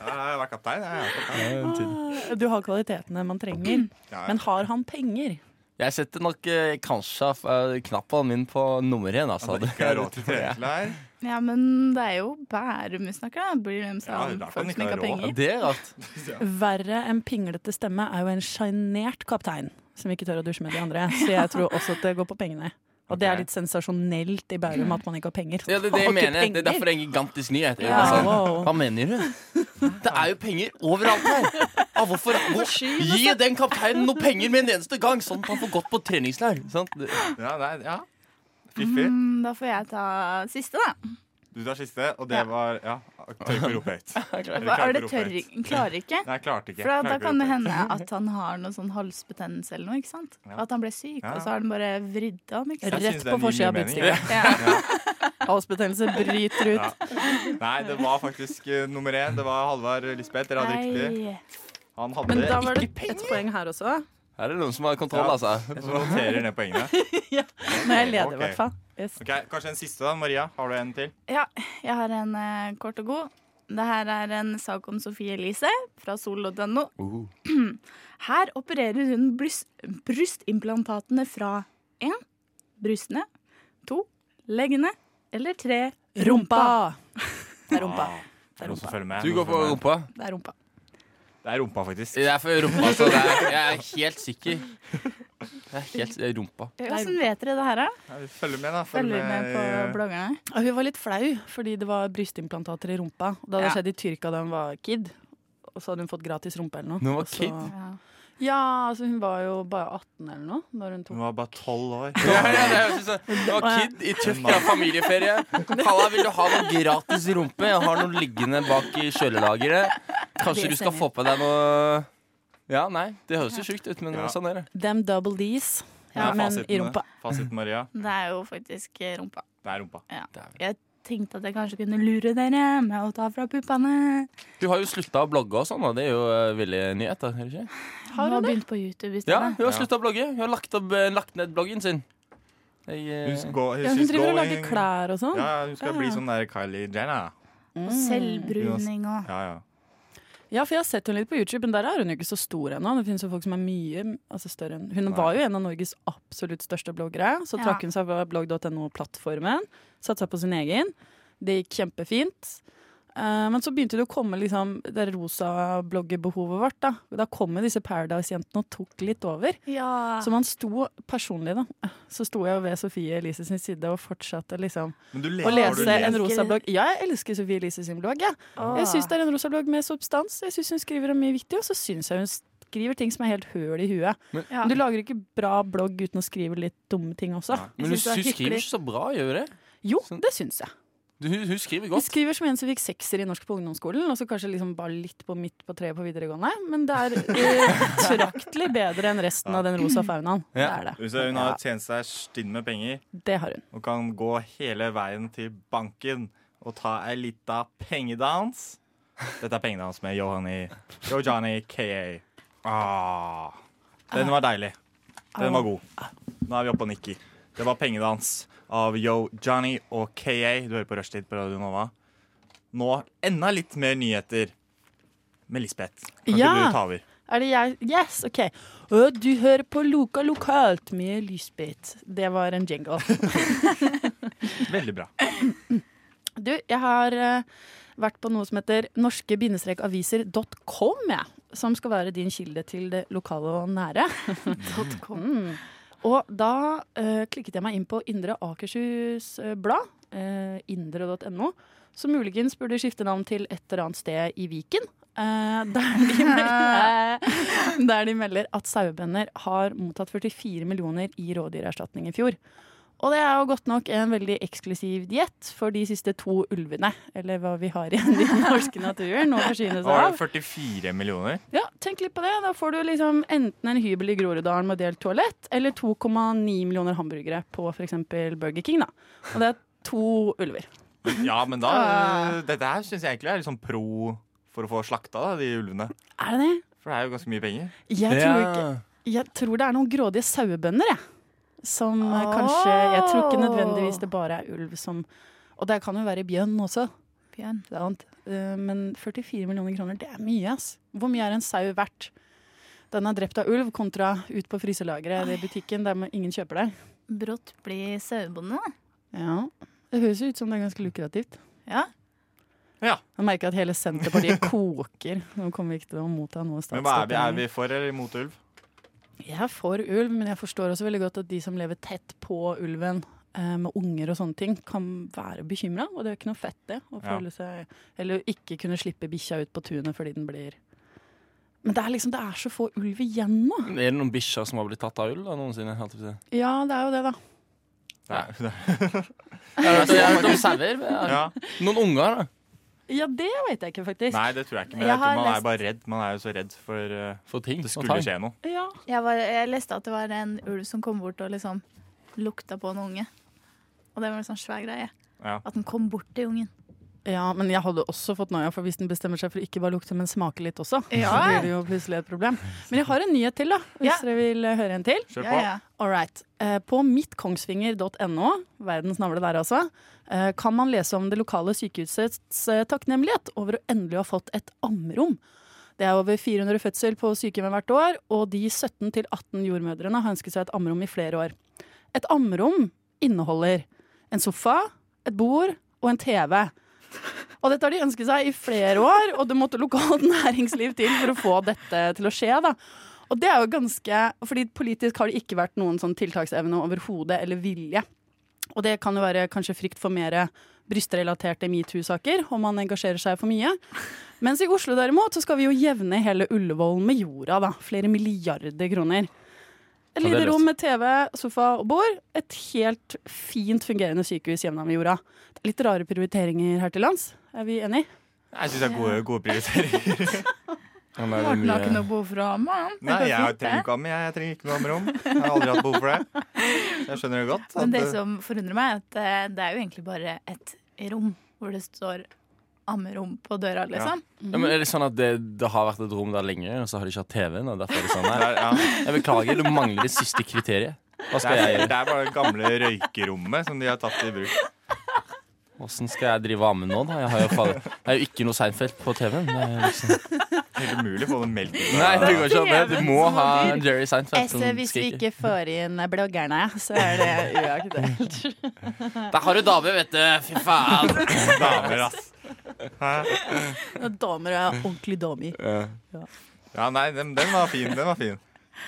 Speaker 2: Jeg har vært kaptein. Jeg, jeg, er kaptein.
Speaker 6: Du har kvalitetene man trenger.
Speaker 2: Ja, ja.
Speaker 6: Men har han penger?
Speaker 3: Jeg setter nok eh, kanskje eh, knappen min på nummer én, altså.
Speaker 2: At det ikke er råd til
Speaker 3: tror jeg.
Speaker 2: treklær.
Speaker 5: Ja, men det er jo Bærum vi snakker om. Blir hvem som
Speaker 2: Ja, det er derfor
Speaker 5: har
Speaker 2: den
Speaker 5: folk som
Speaker 2: ikke
Speaker 5: ikke
Speaker 2: har
Speaker 5: har
Speaker 2: råd.
Speaker 5: penger.
Speaker 3: Det er rart.
Speaker 6: Verre enn pinglete stemme er jo en sjenert kaptein som ikke tør å dusje med de andre. Så jeg tror også at det går på pengene. Og det er litt sensasjonelt i Bærum at man ikke har penger.
Speaker 3: Ja, det, er det, jeg mener. det er derfor det er en gigantisk nyhet. Jeg
Speaker 6: Ja,
Speaker 3: bare sånn,
Speaker 6: wow.
Speaker 3: Hva mener du? Det er jo penger overalt her. Ah, hvorfor, hvor,
Speaker 6: altså.
Speaker 3: gi den kapteinen noe penger med en eneste gang, sånn at han får gått på treningslær. Sant? Det-
Speaker 2: Ja, nei, ja. Fiffig.
Speaker 5: Mm, Da får jeg ta siste, da.
Speaker 2: Du tar siste, og det
Speaker 5: Ja.
Speaker 2: var Ja, tør ikke å rope høyt. Eller
Speaker 5: Hva,
Speaker 2: klarer
Speaker 5: er det
Speaker 2: ikke å
Speaker 5: tørr
Speaker 2: rope høyt.
Speaker 5: Klarer ikke.
Speaker 2: Nei, jeg klarte ikke.
Speaker 5: For da,
Speaker 2: Klarer
Speaker 5: da
Speaker 2: ikke å
Speaker 5: kan
Speaker 2: rope høyt.
Speaker 5: det hende at han har noe sånn halsbetennelse eller noe. ikke sant?
Speaker 2: Ja.
Speaker 5: At han ble syk,
Speaker 2: Ja.
Speaker 5: og så har den bare vridd om. ikke
Speaker 2: Jeg synes
Speaker 5: sant?
Speaker 6: Rett
Speaker 2: det er
Speaker 6: på
Speaker 2: en ny
Speaker 6: forsida av
Speaker 2: mening.
Speaker 6: Budstikka.
Speaker 5: Ja.
Speaker 6: Halsbetennelse bryter ut.
Speaker 2: Ja. Nei, det var faktisk eh, nummer én. Det var Halvard Lisbeth. Dere hadde riktig.
Speaker 5: Nei.
Speaker 2: Han
Speaker 6: Men
Speaker 2: hadde
Speaker 6: da var det et poeng her også.
Speaker 3: Her er det noen som har kontroll, altså.
Speaker 2: Jeg tror han noterer ned poengene.
Speaker 6: Men jeg leder i
Speaker 2: Ok.
Speaker 6: hvert fall. Yes.
Speaker 2: Ok, Kanskje en siste, da. Maria, har du en til?
Speaker 5: Ja, jeg har en eh, kort og god. Det her er en sak om Sofie Elise fra sol.no.
Speaker 3: Uh.
Speaker 5: Her opererer hun bryst, brystimplantatene fra 1. brystene, 2. leggene eller 3.
Speaker 6: Rumpa! Det er rumpa.
Speaker 2: Det er noen som følger med.
Speaker 3: Du går
Speaker 2: Noen som
Speaker 3: for
Speaker 2: følger med.
Speaker 3: rumpa?
Speaker 5: Det er rumpa.
Speaker 2: Det er rumpa, faktisk.
Speaker 3: Det er for rumpa, altså. Det er, jeg er helt sikker. Jeg er helt det er rumpa.
Speaker 5: Hvordan vet dere det her? da?
Speaker 2: Ja, vi følger med, da.
Speaker 5: Følger med på
Speaker 2: eh,
Speaker 5: bloggerne?
Speaker 6: Ja, Hun var litt flau fordi det var brystimplantater i rumpa. Og Det hadde
Speaker 5: Ja.
Speaker 6: skjedd i Tyrkia da hun var kid. Og så hadde hun fått gratis rumpe eller noe.
Speaker 3: Når hun var
Speaker 6: Og så-
Speaker 3: kid?
Speaker 5: Ja.
Speaker 6: Ja, altså hun var jo bare 18 eller noe når hun
Speaker 2: Hun
Speaker 6: tok
Speaker 2: var bare tolv år.
Speaker 3: Ja, ja, det høres ut som Du var kid i Tyrkia, familieferie. Halla, vil du ha noe gratis rumpe? Jeg har noe liggende bak i kjølelageret. Kanskje
Speaker 6: Det
Speaker 3: du skal
Speaker 6: stemmer.
Speaker 3: få på deg noe Ja, nei, det høres jo sjukt ut, men
Speaker 2: Ja.
Speaker 3: sånn er det.
Speaker 6: Them double D's,
Speaker 2: Ja,
Speaker 6: men
Speaker 2: fasiten, eh,
Speaker 6: i rumpa.
Speaker 2: Fasiten, Maria.
Speaker 5: Det er jo faktisk eh, rumpa.
Speaker 2: Det er rumpa.
Speaker 5: Tenkte at jeg kanskje kunne lure dere med å ta fra puppene.
Speaker 3: Du har jo slutta å blogge og sånn, og det er jo eh, veldig nyhet, da. er det ikke?
Speaker 5: Hun har begynt på YouTube i
Speaker 3: Ja,
Speaker 5: stedet.
Speaker 3: hun har slutta å blogge. Hun har lagt, opp, eh, lagt ned bloggen sin. Jeg, eh,
Speaker 2: Hun, går,
Speaker 6: Ja, hun
Speaker 2: she's
Speaker 6: driver og lager
Speaker 2: going-
Speaker 6: klær og sånn.
Speaker 2: Ja, hun skal bli sånn der Kylie Jenner. Mm.
Speaker 5: Og selvbruning og
Speaker 2: Ja, ja.
Speaker 6: Ja, for jeg har sett henne litt på YouTube, men der er hun jo ikke så stor ennå. Det finnes jo folk som er mye altså større enn Hun var jo en av Norges absolutt største bloggere. Så
Speaker 5: Ja.
Speaker 6: trakk hun seg fra blogg.no-plattformen, satsa på sin egen. Det gikk kjempefint. Eh, men så begynte det å komme liksom, det rosa bloggerbehovet vårt. Da Da kom jo disse Paradise-jentene og tok litt over.
Speaker 5: Ja.
Speaker 6: Så man sto personlig, da. Så sto jeg jo ved Sofie Elise sin side og fortsatte liksom
Speaker 2: Men du
Speaker 6: å
Speaker 2: leser, har du
Speaker 6: lese en
Speaker 2: lest- Ah.
Speaker 6: rosa blogg. Ja, jeg elsker Sofie Elise sin blogg, jeg. Jeg syns det er en rosa blogg med substans. Jeg syns hun skriver om mye viktig, og så syns jeg hun skriver ting som er helt høl i huet.
Speaker 3: Men-
Speaker 5: Ja.
Speaker 6: Men du lager ikke bra blogg uten å skrive litt dumme ting også.
Speaker 2: Nei.
Speaker 3: men hun,
Speaker 5: synes det er
Speaker 3: hun skriver
Speaker 5: hyggelig.
Speaker 3: ikke så bra, gjør hun det?
Speaker 6: Jo,
Speaker 3: Sånn.
Speaker 6: det syns jeg.
Speaker 3: Du- Hun, hun skriver
Speaker 6: Hun
Speaker 3: godt.
Speaker 6: skriver som en som fikk sekser i norsk på ungdomsskolen, og så kanskje liksom bare litt på midt på treet på videregående, men det er eh, betraktelig bedre enn resten av den rosa faunaen. Det
Speaker 3: Ja.
Speaker 6: er det.
Speaker 2: Hun sier hun har tjent seg stinn med penger
Speaker 6: Det har hun.
Speaker 2: og kan gå hele veien til banken og ta ei lita pengedans. Dette er pengedans med Johanny Johanny KA. Ah, den var deilig. Den var god. Nå er vi oppe og nikker. Det var pengedans av Yo Johnny og KA. Du hører på Rushtid på Radio Nova. Nå enda litt mer nyheter med Lisbeth. Kan ikke
Speaker 6: Ja.
Speaker 2: du ta over?
Speaker 6: Er det jeg? Yes, ok. Og du hører på Loka lokalt med Lysbit. Det var en jingle.
Speaker 2: Veldig bra.
Speaker 6: Du, jeg har eh, vært på noe som heter norske-aviser.com, jeg. Som skal være din kilde til det lokale og nære. Mm. Og da eh, klikket jeg meg inn på Indre Akershus eh, Blad, eh, indre.no, som muligens burde skifte navn til et eller annet sted i Viken. eh, der,
Speaker 5: Eh,
Speaker 6: de melder, der de melder at sauebønder har mottatt 44 millioner i rådyrerstatning i fjor. Og det er jo godt nok en veldig eksklusiv diett for de siste to ulvene, eller hva vi har igjen i den norske naturen å forsyne seg
Speaker 2: Var
Speaker 6: av.
Speaker 2: det 44 millioner?
Speaker 6: Ja, tenk litt på det. Da får du liksom enten en hybel i Groruddalen med delt toalett, eller 2,9 millioner hamburgere på f.eks. Burger King. da. Og det er to ulver.
Speaker 2: Ja, men da
Speaker 5: Ah.
Speaker 2: eh, Dette her syns jeg egentlig er liksom pro for å få slakta da, de ulvene.
Speaker 6: Er det det?
Speaker 2: For det er jo ganske mye penger.
Speaker 6: Jeg tror, ikke, jeg tror det er noen grådige sauebønder, jeg. Som eh, kanskje Jeg tror ikke nødvendigvis det bare er ulv som Og det kan jo være bjørn også.
Speaker 5: Bjørn.
Speaker 6: Det er sant. Eh, Men 44 millioner kroner, det er mye, ass. Hvor mye er en sau verdt? Den er drept av ulv kontra ut på fryselageret eller i butikken der man- ingen kjøper det.
Speaker 5: Brått blir sauebonde.
Speaker 6: Ja. Det høres jo ut som det er ganske lukrativt.
Speaker 5: Ja.
Speaker 6: Jeg merker at hele Senterpartiet koker. Nå kommer vi ikke til å motta noe
Speaker 2: Men hva er vi, er
Speaker 6: statsstøtte.
Speaker 2: vi for eller imot ulv?
Speaker 6: Jeg er for ulv, men jeg forstår også veldig godt at de som lever tett på ulven eh, med unger og sånne ting, kan være bekymra. Og det er ikke noe fett, det. Å
Speaker 2: Ja.
Speaker 6: føle seg, eller ikke kunne slippe bikkja ut på tunet fordi den blir Men det er liksom, det er så få ulv igjen nå.
Speaker 3: Er det noen bikkjer som har blitt tatt av ulv da, noensinne? holdt jeg på å si?
Speaker 6: Ja, det er jo det, da.
Speaker 2: Nei.
Speaker 3: Jeg vet- jeg har hørt om sauer.
Speaker 2: Ja.
Speaker 3: Noen unger, da.
Speaker 6: Ja, det veit jeg ikke, faktisk.
Speaker 2: Nei, det tror jeg ikke. Men
Speaker 5: Jeg
Speaker 2: jeg tror
Speaker 5: har
Speaker 2: man
Speaker 5: lest-
Speaker 2: er bare redd. Man er jo så redd for eh,
Speaker 3: For ting.
Speaker 2: det
Speaker 3: og
Speaker 2: skulle
Speaker 3: tang.
Speaker 2: skje noe.
Speaker 6: Ja.
Speaker 5: Jeg, var, jeg leste at det var en ulv som kom bort og liksom lukta på en unge. Og det var en sånn svær greie.
Speaker 2: Ja.
Speaker 5: At den kom bort til ungen.
Speaker 6: ja, men jeg hadde også fått noia, for hvis den bestemmer seg for å ikke bare lukte, men smake litt også, så
Speaker 5: Ja.
Speaker 6: blir det jo plutselig et problem. Men jeg har en nyhet til, da,
Speaker 5: Ja.
Speaker 6: hvis dere vil eh, høre en til.
Speaker 2: Kjør på.
Speaker 5: Ja, ja.
Speaker 6: All right. Eh, På mittkongsfinger.no, verdens navle der altså, eh, kan man lese om det lokale sykehusets eh, takknemlighet over å endelig ha fått et ammerom. Det er over 400 fødsel på sykehjemmet hvert år, og de 17-18 jordmødrene har ønsket seg et ammerom i flere år. Et ammerom inneholder en sofa, et bord og en TV. Og dette har de ønsket seg i flere år, og det måtte lokalt næringsliv til for å få dette til å skje. da. Og det er jo ganske Fordi politisk har det ikke vært noen sånn tiltaksevne overhodet, eller vilje. Og det kan jo være kanskje frykt for mer brystrelaterte metoo-saker, om man engasjerer seg for mye. Mens i Oslo derimot så skal vi jo jevne hele Ullevål med jorda, da. Flere milliarder kroner. Et
Speaker 3: Ja, det er
Speaker 6: lite rom
Speaker 3: løst.
Speaker 6: med TV, sofa og bord. Et helt fint fungerende sykehus jevna med jorda. Det er litt rare prioriteringer her til lands. Er vi enige?
Speaker 2: Jeg syns det er gode, gode prioriteringer.
Speaker 3: Ja, nei, det er
Speaker 5: Morten har ikke
Speaker 3: mye-
Speaker 5: noe behov for å ha med, han. Det
Speaker 2: eh, Nei,
Speaker 5: går
Speaker 2: jeg
Speaker 5: fint,
Speaker 2: trenger
Speaker 5: det.
Speaker 2: ikke amme. Jeg, jeg trenger ikke noe ammerom. Jeg har aldri hatt behov for det. Jeg skjønner det godt.
Speaker 5: Men det
Speaker 2: at, eh,
Speaker 5: som forundrer meg, er at eh, det er jo egentlig bare et rom hvor det står ammerom på døra, liksom.
Speaker 3: Ja, men er det sånn at det, det har vært et rom der lenge, og så har de ikke hatt TV-en? Og derfor er det sånn
Speaker 2: det
Speaker 3: her?
Speaker 2: er, ja,
Speaker 3: Jeg beklager, du mangler det siste kriteriet. Hva
Speaker 2: det,
Speaker 3: skal jeg
Speaker 2: er,
Speaker 3: gjøre?
Speaker 2: det er bare det gamle røykerommet som de har tatt i bruk.
Speaker 3: Åssen skal jeg drive ammen nå, da? Jeg har jo, faen- jeg har jo ikke noe Seinfeld på TV-en. Det er liksom...
Speaker 2: Helt umulig å få den meldt ut.
Speaker 3: Nei, det går ikke an. det. Du må
Speaker 5: Som
Speaker 3: ha
Speaker 5: var dyr.
Speaker 3: Jerry Seinfeld som
Speaker 6: hvis vi
Speaker 3: skriker.
Speaker 6: ikke får inn bloggerne, så er det uaktuelt.
Speaker 3: Der har du dame, vet du. Fy faen.
Speaker 2: Damer, ass. Hæ?
Speaker 6: Damer er ordentlige damer.
Speaker 2: Ja, nei, den, den var fin. Den var fin.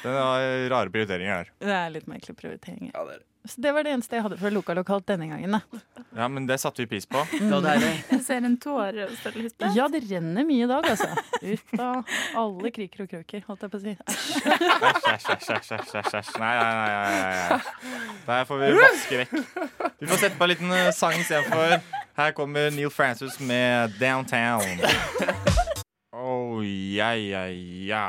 Speaker 2: Den var rare prioriteringer der.
Speaker 6: Det er litt merkelige prioriteringer. Så det var det eneste jeg hadde fra Loka lokalt denne gangen. Da.
Speaker 2: Ja, men det satte vi pris på.
Speaker 5: Jeg ser en tåre og står litt der.
Speaker 6: Ja, det renner mye i dag, altså. Ut av alle kriker og kroker, holdt jeg på å si.
Speaker 2: Æsj, æsj, æsj, æsj, æsj, æsj, æsj. Nei, nei, nei, nei, nei, nei. Der får vi vaske vekk. Vi får sette på en liten eh, sang istedenfor. Her kommer Neil Francis med 'Downtown'. Oh, ja, ja, ja.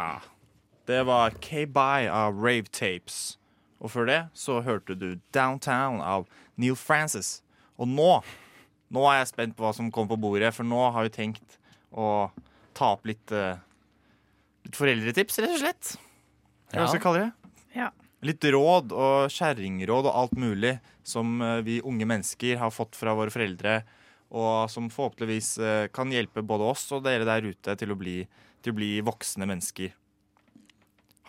Speaker 2: Det var K-Bye av Rave Tapes. Og før det så hørte du 'Downtown' av Neil Francis. Og nå nå er jeg spent på hva som kommer på bordet, for nå har vi tenkt å ta opp litt, eh, litt foreldretips, rett og slett. Hva skal jeg kalle det?
Speaker 5: Ja.
Speaker 2: Litt råd og kjerringråd og alt mulig som eh, vi unge mennesker har fått fra våre foreldre, og som forhåpentligvis eh, kan hjelpe både oss og dere der ute til å bli, til å bli voksne mennesker.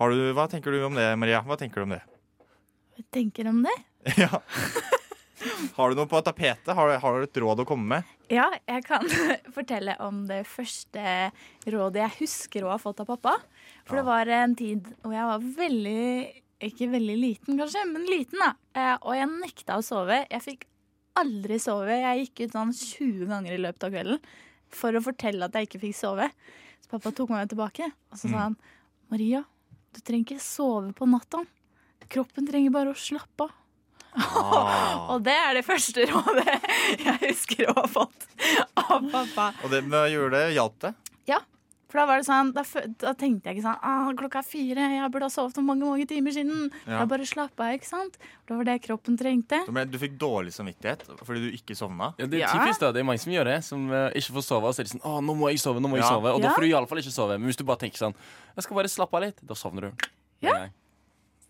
Speaker 2: Har du, hva tenker du om det, Maria? Hva tenker du om det?
Speaker 5: Hva tenker du om det?
Speaker 2: ja. Har du noe på tapetet? Har du, har du et råd å komme med?
Speaker 5: Ja, jeg kan fortelle om det første rådet jeg husker å ha fått av pappa. For det var en tid hvor jeg var veldig Ikke veldig liten, kanskje, men liten, da. Eh, Og jeg nekta å sove. Jeg fikk aldri sove. Jeg gikk ut sånn 20 ganger i løpet av kvelden for å fortelle at jeg ikke fikk sove. Så pappa tok meg med tilbake, og så sa han Maria, du trenger ikke sove på natta. Kroppen trenger bare å slappe av.
Speaker 2: Ah.
Speaker 5: Og det er det første rådet jeg husker å ha fått av pappa.
Speaker 2: Og det med å gjøre det hjalp det.
Speaker 5: For da var det sånn, da, fø- da tenkte jeg ikke sånn ah, Klokka er fire, jeg burde ha sovet for mange mange timer siden.
Speaker 2: Ja.
Speaker 5: Jeg bare slappa av, ikke sant? Det var det kroppen trengte.
Speaker 2: Du, ble, du fikk dårlig samvittighet fordi du ikke sovna.
Speaker 3: Ja, det er
Speaker 5: Ja.
Speaker 3: typisk da, det er mange som gjør det. Som eh, ikke får sove. Og så er de sånn 'Å, nå må jeg sove', nå må jeg
Speaker 2: Ja.
Speaker 3: sove. Og da
Speaker 5: Ja.
Speaker 3: får du iallfall ikke sove. Men hvis du bare tenker sånn 'Jeg skal bare slappe av litt', da sovner du.
Speaker 5: Ja.
Speaker 3: Nei.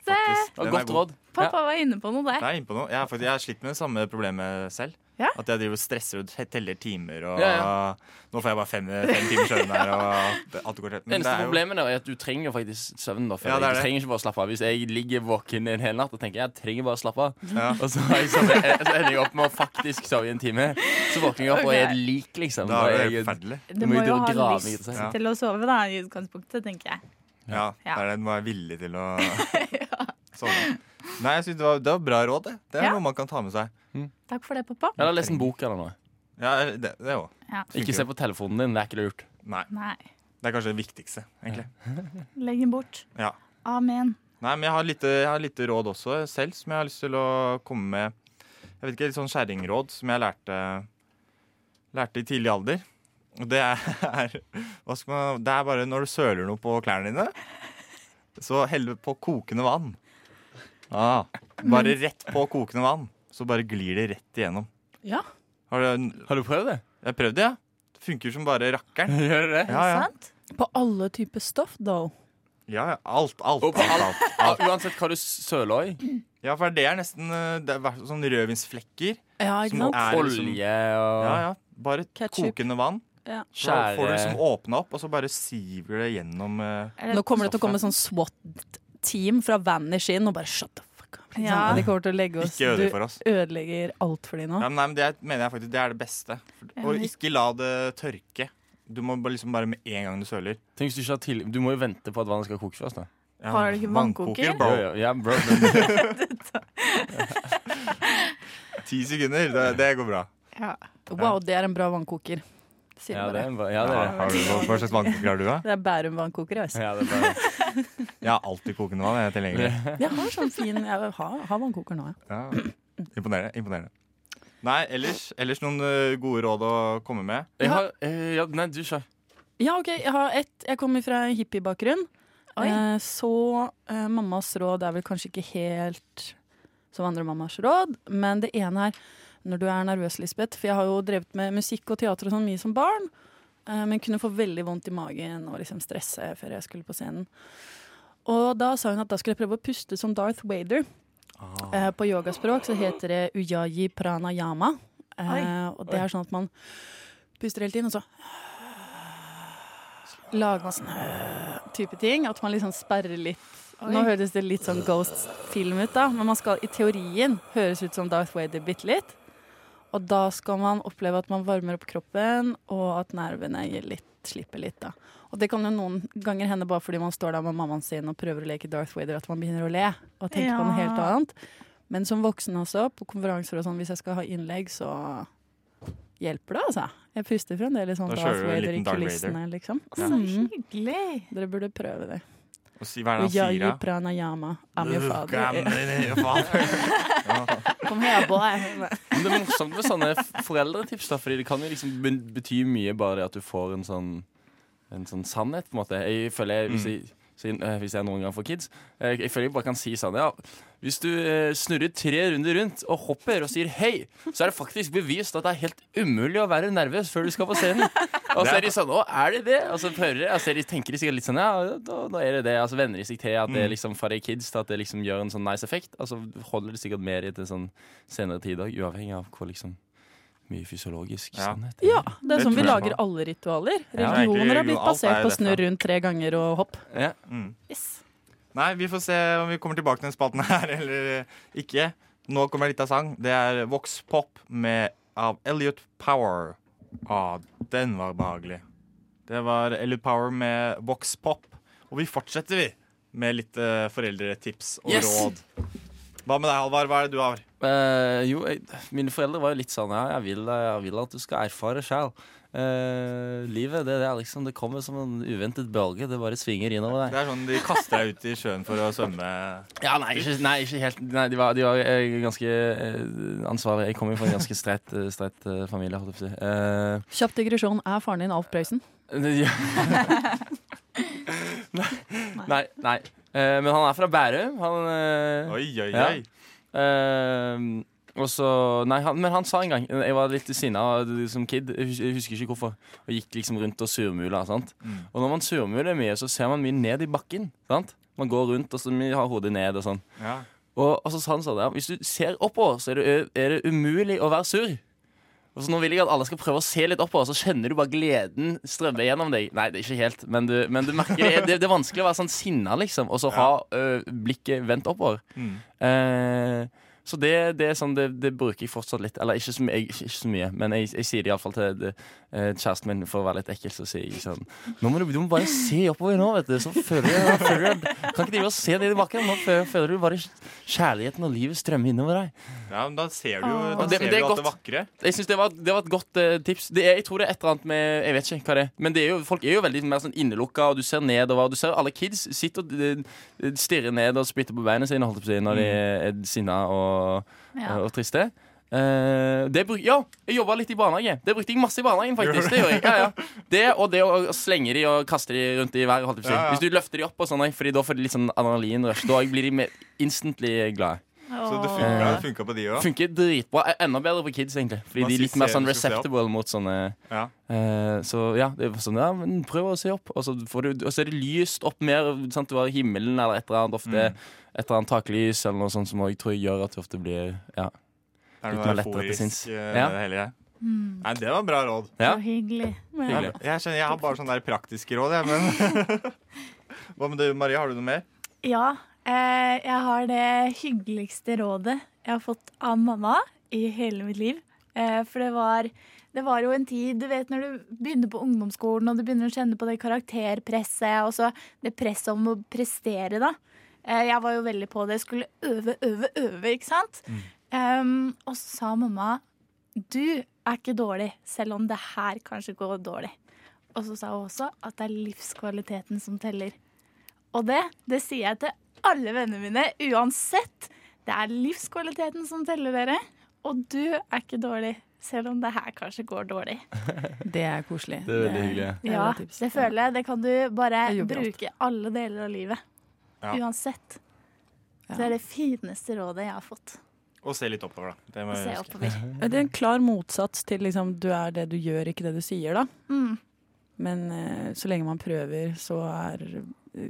Speaker 5: Det,
Speaker 2: Faktisk.
Speaker 3: Det var
Speaker 2: Den er
Speaker 3: godt
Speaker 2: god.
Speaker 3: råd. Ja.
Speaker 5: pappa var inne på noe der.
Speaker 2: Jeg er inne på noe. Jeg har, faktisk, jeg har slitt med det samme problemet selv.
Speaker 5: Ja.
Speaker 2: At jeg driver og stresser og teller timer og
Speaker 3: Ja,
Speaker 2: Nå får jeg bare fem, fem timer søvn her, og det- alt går til
Speaker 3: Eneste problemet er at du trenger faktisk søvn. da
Speaker 2: Ja, det
Speaker 3: føler
Speaker 2: er
Speaker 3: jeg. Du
Speaker 2: det.
Speaker 3: trenger ikke bare å slappe av Hvis jeg ligger våken en hel natt og tenker jeg trenger bare å slappe av,
Speaker 2: Ja.
Speaker 3: og så, har jeg sovet- så ender jeg opp med å faktisk sove i en time, så våkner jeg opp og er et lik, liksom.
Speaker 2: Da
Speaker 3: Og
Speaker 2: er det
Speaker 3: jeg-
Speaker 2: forferdelig.
Speaker 5: Du må
Speaker 3: må jo
Speaker 5: jo
Speaker 3: dra og
Speaker 5: ha
Speaker 3: grave i
Speaker 5: lyst
Speaker 3: seg.
Speaker 2: Ja.
Speaker 5: til å sove, da, i utgangspunktet, tenker jeg.
Speaker 2: Ja,
Speaker 5: Ja.
Speaker 2: det er det. Du må være villig til å sovne. Nei, jeg synes det, var, det var bra råd. Det Det er
Speaker 5: Ja.
Speaker 2: noe man kan ta med seg.
Speaker 5: Takk for det, pappa.
Speaker 3: Eller les en bok eller noe.
Speaker 2: Ja, det, det òg.
Speaker 5: Ja.
Speaker 3: Ikke se på telefonen din. Det er ikke lurt.
Speaker 2: Nei,
Speaker 5: Nei,
Speaker 2: det er kanskje det viktigste, egentlig.
Speaker 5: legg den bort.
Speaker 2: Ja.
Speaker 5: Amen.
Speaker 2: Nei, men jeg har litt, jeg har lite råd også selv, som jeg har lyst til å komme med. Jeg vet ikke, litt sånn skjæringråd som jeg lærte, lærte i tidlig alder. Og det er, hva skal man, det er bare når du søler noe på klærne dine, så hell på kokende vann. Ah, bare rett på kokende vann, så bare glir det rett igjennom.
Speaker 6: Ja.
Speaker 2: Har du,
Speaker 3: Har du prøvd det?
Speaker 2: jeg prøvde det, ja. Det funker som bare rakkeren.
Speaker 3: Gjør du det?
Speaker 2: Ja, ja.
Speaker 5: Sant?
Speaker 6: På alle typer stoff, though.
Speaker 2: Ja, ja. Alt, alt,
Speaker 3: Og på
Speaker 2: alt, alt.
Speaker 3: Ja, uansett hva du søler i.
Speaker 2: Ja, for det er nesten eh, det er sånn rødvinsflekker.
Speaker 5: Ah,
Speaker 6: Ja, ikke
Speaker 2: Som
Speaker 6: sant?
Speaker 2: er liksom-
Speaker 3: Olje og
Speaker 2: Ja, ja. Bare
Speaker 6: Ketchup.
Speaker 2: kokende vann.
Speaker 6: Ja.
Speaker 2: Så får du liksom
Speaker 3: skjære
Speaker 2: åpna opp, og så bare siver det gjennom eh,
Speaker 6: Nå kommer det til å komme sånn SWAT-team fra Vanish inn og bare shut the fuck up. Liksom.
Speaker 5: Ja.
Speaker 6: De kommer til å legge oss.
Speaker 2: Ikke ødelegg for oss.
Speaker 6: Du ødelegger alt for de nå.
Speaker 2: Ja, men nei, men Det er- mener jeg faktisk det er det beste.
Speaker 5: Ja,
Speaker 2: Og
Speaker 5: men-
Speaker 2: ikke la det tørke. Du må bare liksom bare med en gang du søler.
Speaker 3: Tenk hvis du ikke har til Du må jo vente på at vannet skal koke først. da
Speaker 2: Ja,
Speaker 5: Har du ikke vannkoker?
Speaker 2: bro.
Speaker 3: Ja, ja, ja, bro, men,
Speaker 2: Ti sekunder, det, det går bra.
Speaker 5: Ja.
Speaker 6: Wow, det er en bra vannkoker. Sier
Speaker 3: ja, det
Speaker 6: ja, bare.
Speaker 3: er, bra- ja, det
Speaker 2: Ja,
Speaker 3: er.
Speaker 2: har du, hva hva slags vannkoker har du, da?
Speaker 6: Det er Bærum vannkoker, jeg. altså. vet.
Speaker 3: Ja, det er bra.
Speaker 2: Jeg har alltid kokende vann. jeg er tilgjengelig.
Speaker 6: Jeg har sånn fin Jeg har, har vannkoker nå, ja.
Speaker 2: Ja. Imponerende. imponerende. Nei, ellers, ellers noen eh, gode råd å komme med?
Speaker 3: Jeg har, eh, ja, nei, du kjør.
Speaker 6: Ja, OK, jeg har ett. Jeg kommer fra en hippiebakgrunn.
Speaker 5: Oi.
Speaker 6: Eh, så eh, mammas råd er vel kanskje ikke helt som andre mammas råd, men det ene er når du er nervøs, Lisbeth, for jeg har jo drevet med musikk og teater og sånn mye som barn, eh, men kunne få veldig vondt i magen og liksom stresse før jeg skulle på scenen. Og da sa hun at da skulle jeg prøve å puste som Darth Vader. Eh, på yogaspråk så heter det ujayi pranayama. Eh, og det er sånn at man puster hele tiden, og så lager man sånn type ting. At man liksom sperrer litt. Nå høres det litt sånn Ghost-film ut, da, men man skal i teorien høres ut som Darth Vader bitte litt. Og da skal man oppleve at man varmer opp kroppen, og at nervene gir litt, slipper litt. da. Og det kan jo noen ganger hende bare fordi man står der med mammaen sin og prøver å leke Darth Vader, at man begynner å le og tenke på noe
Speaker 5: Ja.
Speaker 6: helt annet. Men som voksen også, på konferanser og sånn, hvis jeg skal ha innlegg, så hjelper det, altså. Jeg puster fremdeles sånn
Speaker 2: Da kjører
Speaker 6: Darth
Speaker 2: du en
Speaker 6: Vader i
Speaker 2: liten Darth Vader.
Speaker 6: kulissene, liksom.
Speaker 5: Så hyggelig.
Speaker 6: Dere burde prøve det.
Speaker 2: Og si, hva er det han sier,
Speaker 6: Ujayi
Speaker 2: da?
Speaker 6: pranayama, I'm your
Speaker 2: Look, I'm
Speaker 6: father.
Speaker 2: your father.
Speaker 5: Kom her, boy.
Speaker 3: Men det er morsomt med sånne f- foreldretips, da, Fordi det kan jo liksom ben- bety mye bare det at du får en sånn En sånn sannhet, på en måte. Jeg føler jeg, hvis, jeg, siden, eh, hvis jeg noen gang får kids, eh, jeg føler jeg bare kan si sånn ja, Hvis du eh, snurrer tre runder rundt og hopper og sier hei, så er det faktisk bevist at det er helt umulig å være nervøs før du skal på scenen. Og så er de sånn Å, er det det? Og så prøver de, altså, de tenker de sikkert litt sånn Ja, da, da er det det. Altså venner de seg til at det er liksom fra de kids til at det liksom gjør en sånn nice effekt. Og så holder de sikkert mer i til sånn senere tid òg, uavhengig av hvor liksom mye fysiologisk
Speaker 2: Ja.
Speaker 3: sannhet det er.
Speaker 6: Ja, det er
Speaker 2: Det
Speaker 6: sånn vi
Speaker 2: tror jeg
Speaker 6: lager
Speaker 2: på.
Speaker 6: alle ritualer.
Speaker 3: Ja,
Speaker 2: egentlig,
Speaker 6: Religioner har
Speaker 2: religion, alt
Speaker 6: blitt
Speaker 2: er
Speaker 6: basert på
Speaker 2: dette.
Speaker 6: snurr rundt tre ganger og hopp.
Speaker 3: Ja.
Speaker 2: mm. Nei, vi får se om vi kommer tilbake til den spalten her eller eh, ikke. Nå kommer litt av sang. Det er Vox Pop med, av Elliot Power. Ah, den var behagelig. Det var Elliot Power med Vox Pop. Og vi fortsetter, vi, med litt eh, foreldretips og
Speaker 3: Yes!
Speaker 2: råd. Hva med deg, Halvard? Hva er det du har?
Speaker 3: Eh, jo, jeg, mine foreldre var jo litt sånn Ja, jeg vil, jeg vil at du skal erfare sjæl. Eh, livet det, det er liksom Det kommer som en uventet bølge. Det bare svinger innover deg.
Speaker 2: Det er sånn de kaster deg ut i sjøen for å svømme.
Speaker 3: Ja, nei, ikke, nei, ikke helt nei, de, var, de var eh, ganske eh, ansvarlige. Jeg kommer jo fra en ganske streit, eh, streit eh, familie, holdt jeg på å si. Eh,
Speaker 6: Kjapp digresjon. Er faren din Alf Prøysen?
Speaker 3: Ja. nei. nei, nei. Eh, men han er fra Bærum. Han eh,
Speaker 2: Oi, oi,
Speaker 3: Ja.
Speaker 2: oi.
Speaker 3: eh, og så, nei, han, Men han sa en gang Jeg var litt sinna som kid. Jeg hus- jeg husker ikke hvorfor. Og gikk liksom rundt og surmula. Sant?
Speaker 2: Mm.
Speaker 3: Og når man surmuler mye, så ser man mye ned i bakken. Sant? Man går rundt og så mye har hodet ned og sånn.
Speaker 2: Ja.
Speaker 3: Og, og så sa han sånn ja, Hvis du ser oppover, så er det, ø- er det umulig å være sur. Og så nå vil jeg at alle skal prøve å se litt oppover, så kjenner du bare gleden strømme gjennom deg. Nei, det er ikke helt, men du, men du merker det, er- det. Det er vanskelig å være sånn sinna, liksom, og så ha ø, blikket vendt oppover.
Speaker 2: Mm.
Speaker 3: Eh, så det, det er sånn, det, det bruker jeg fortsatt litt. Eller ikke så, mye- jeg, ikke så mye, men jeg, jeg sier det iallfall til det, eh, kjæresten min for å være litt ekkel. Så sier jeg sånn Nå må du, du må bare se oppover nå, vet du. Så føler du, da føler du Kan ikke drive og se ned i bakken. Nå føler, føler du bare kjærligheten og livet strømme innover deg.
Speaker 2: Ja, men da ser du jo da
Speaker 3: Og det- men
Speaker 2: ser det,
Speaker 3: det er
Speaker 2: du alt det
Speaker 3: godt.
Speaker 2: vakre.
Speaker 3: Jeg synes det, var, det var et godt eh, tips. Det er, jeg tror det er et eller annet med Jeg vet ikke hva det er. Men det er jo, folk er jo veldig mer sånn innelukka, og du ser nedover. Og du ser alle kids sitter og eh, stirrer ned og spytter på beina sine holdt jeg på å si, når de er sinna og,
Speaker 5: Ja.
Speaker 3: og triste. Eh, det bruk, ja, jeg jobba litt i barnehage. Det brukte jeg masse i barnehagen. faktisk Det gjorde jeg, ja, ja Det og det å slenge de og kaste de rundt i været. holdt jeg på å si.
Speaker 2: Ja, ja.
Speaker 3: Hvis du løfter de opp, og sånn, Fordi da får de litt sånn adrenalinrush. Da blir de mer instantly glade.
Speaker 2: Så det funka,
Speaker 5: Åh.
Speaker 2: det funka på de òg.
Speaker 3: Funker dritbra. E- Enda bedre på kids, egentlig. Fordi
Speaker 2: Man
Speaker 3: de er
Speaker 2: sier
Speaker 3: litt mer
Speaker 2: se-
Speaker 3: sånn
Speaker 2: du skal se opp.
Speaker 3: receptable mot sånne
Speaker 2: Ja.
Speaker 3: eh, Så ja, det er sånn, ja, men prøv å se opp. Og så, får du, og så er det lyst opp mer. Sant? Du har himmelen eller et eller annet ofte. Et eller annet taklys eller noe sånt som også, jeg tror gjør at det ofte blir Ja.
Speaker 2: Det er
Speaker 3: Litt
Speaker 2: noe
Speaker 3: mer lettere til
Speaker 2: euforisk,
Speaker 3: sinns.
Speaker 2: eh,
Speaker 3: Ja.
Speaker 2: med det hele. Nei, det var bra råd.
Speaker 3: ja.
Speaker 5: Mm. Så hyggelig.
Speaker 2: Jeg,
Speaker 3: Hyggelig.
Speaker 2: jeg, skjønner, jeg har bare sånne der praktiske råd, jeg. Men Hva med du, Marie? Har du noe mer?
Speaker 5: Ja, eh, jeg har det hyggeligste rådet jeg har fått av mamma i hele mitt liv. Eh, for det var, det var jo en tid Du vet når du begynner på ungdomsskolen og du begynner å kjenne på det karakterpresset og så det presset om å prestere, da. Eh, jeg var jo veldig på det. Skulle øve, øve, øve, ikke sant? Um, og så sa mamma du er ikke dårlig, selv om det her kanskje går dårlig. Og så sa hun også at det er livskvaliteten som teller. Og det, det sier jeg til alle vennene mine uansett. Det er livskvaliteten som teller dere. Og du er ikke dårlig, selv om det her kanskje går dårlig.
Speaker 6: Det er koselig.
Speaker 3: Det er veldig hyggelig.
Speaker 6: det er
Speaker 5: Ja,
Speaker 6: et tips.
Speaker 5: det føler jeg. Det kan du bare
Speaker 6: Jeg jobber
Speaker 5: bruke alle deler av livet.
Speaker 2: Ja.
Speaker 5: Uansett.
Speaker 6: Ja.
Speaker 5: Det er det fineste rådet jeg har fått.
Speaker 2: Og se litt oppover, da. Det må
Speaker 5: Å
Speaker 2: jeg
Speaker 5: se
Speaker 2: huske.
Speaker 5: oppover.
Speaker 6: Ja, Det er en klar motsats til liksom, du er det du gjør, ikke det du sier, da.
Speaker 5: Mm.
Speaker 6: Men eh, så lenge man prøver, så er eh,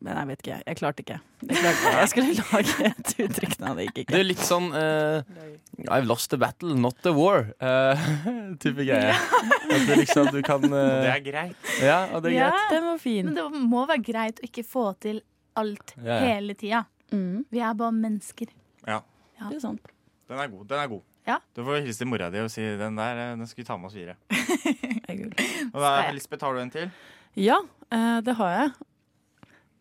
Speaker 6: Men jeg vet ikke, jeg klarte ikke. Jeg, klarte ikke. jeg skulle lage et uttrykk, nei, det gikk
Speaker 3: Det
Speaker 6: ikke.
Speaker 3: er litt sånn eh, I've lost the battle, not the war. eh, type greie. At det liksom du kan eh,
Speaker 2: Det er greit.
Speaker 3: Ja, og det er
Speaker 5: Ja,
Speaker 3: greit.
Speaker 6: Den var fin.
Speaker 5: men det må være greit å ikke få til alt
Speaker 3: Ja, ja.
Speaker 5: hele tida.
Speaker 6: Mm,
Speaker 5: Vi er bare mennesker.
Speaker 2: Ja,
Speaker 6: det er sant.
Speaker 2: den er god. Den er god.
Speaker 5: Ja.
Speaker 2: Du får hilse til mora di og si den der eh, den skal vi ta med oss videre.
Speaker 6: Det er gull.
Speaker 2: Og da,
Speaker 5: Skal jeg?
Speaker 2: Lisbeth, har du en til?
Speaker 6: Ja, eh, det har jeg.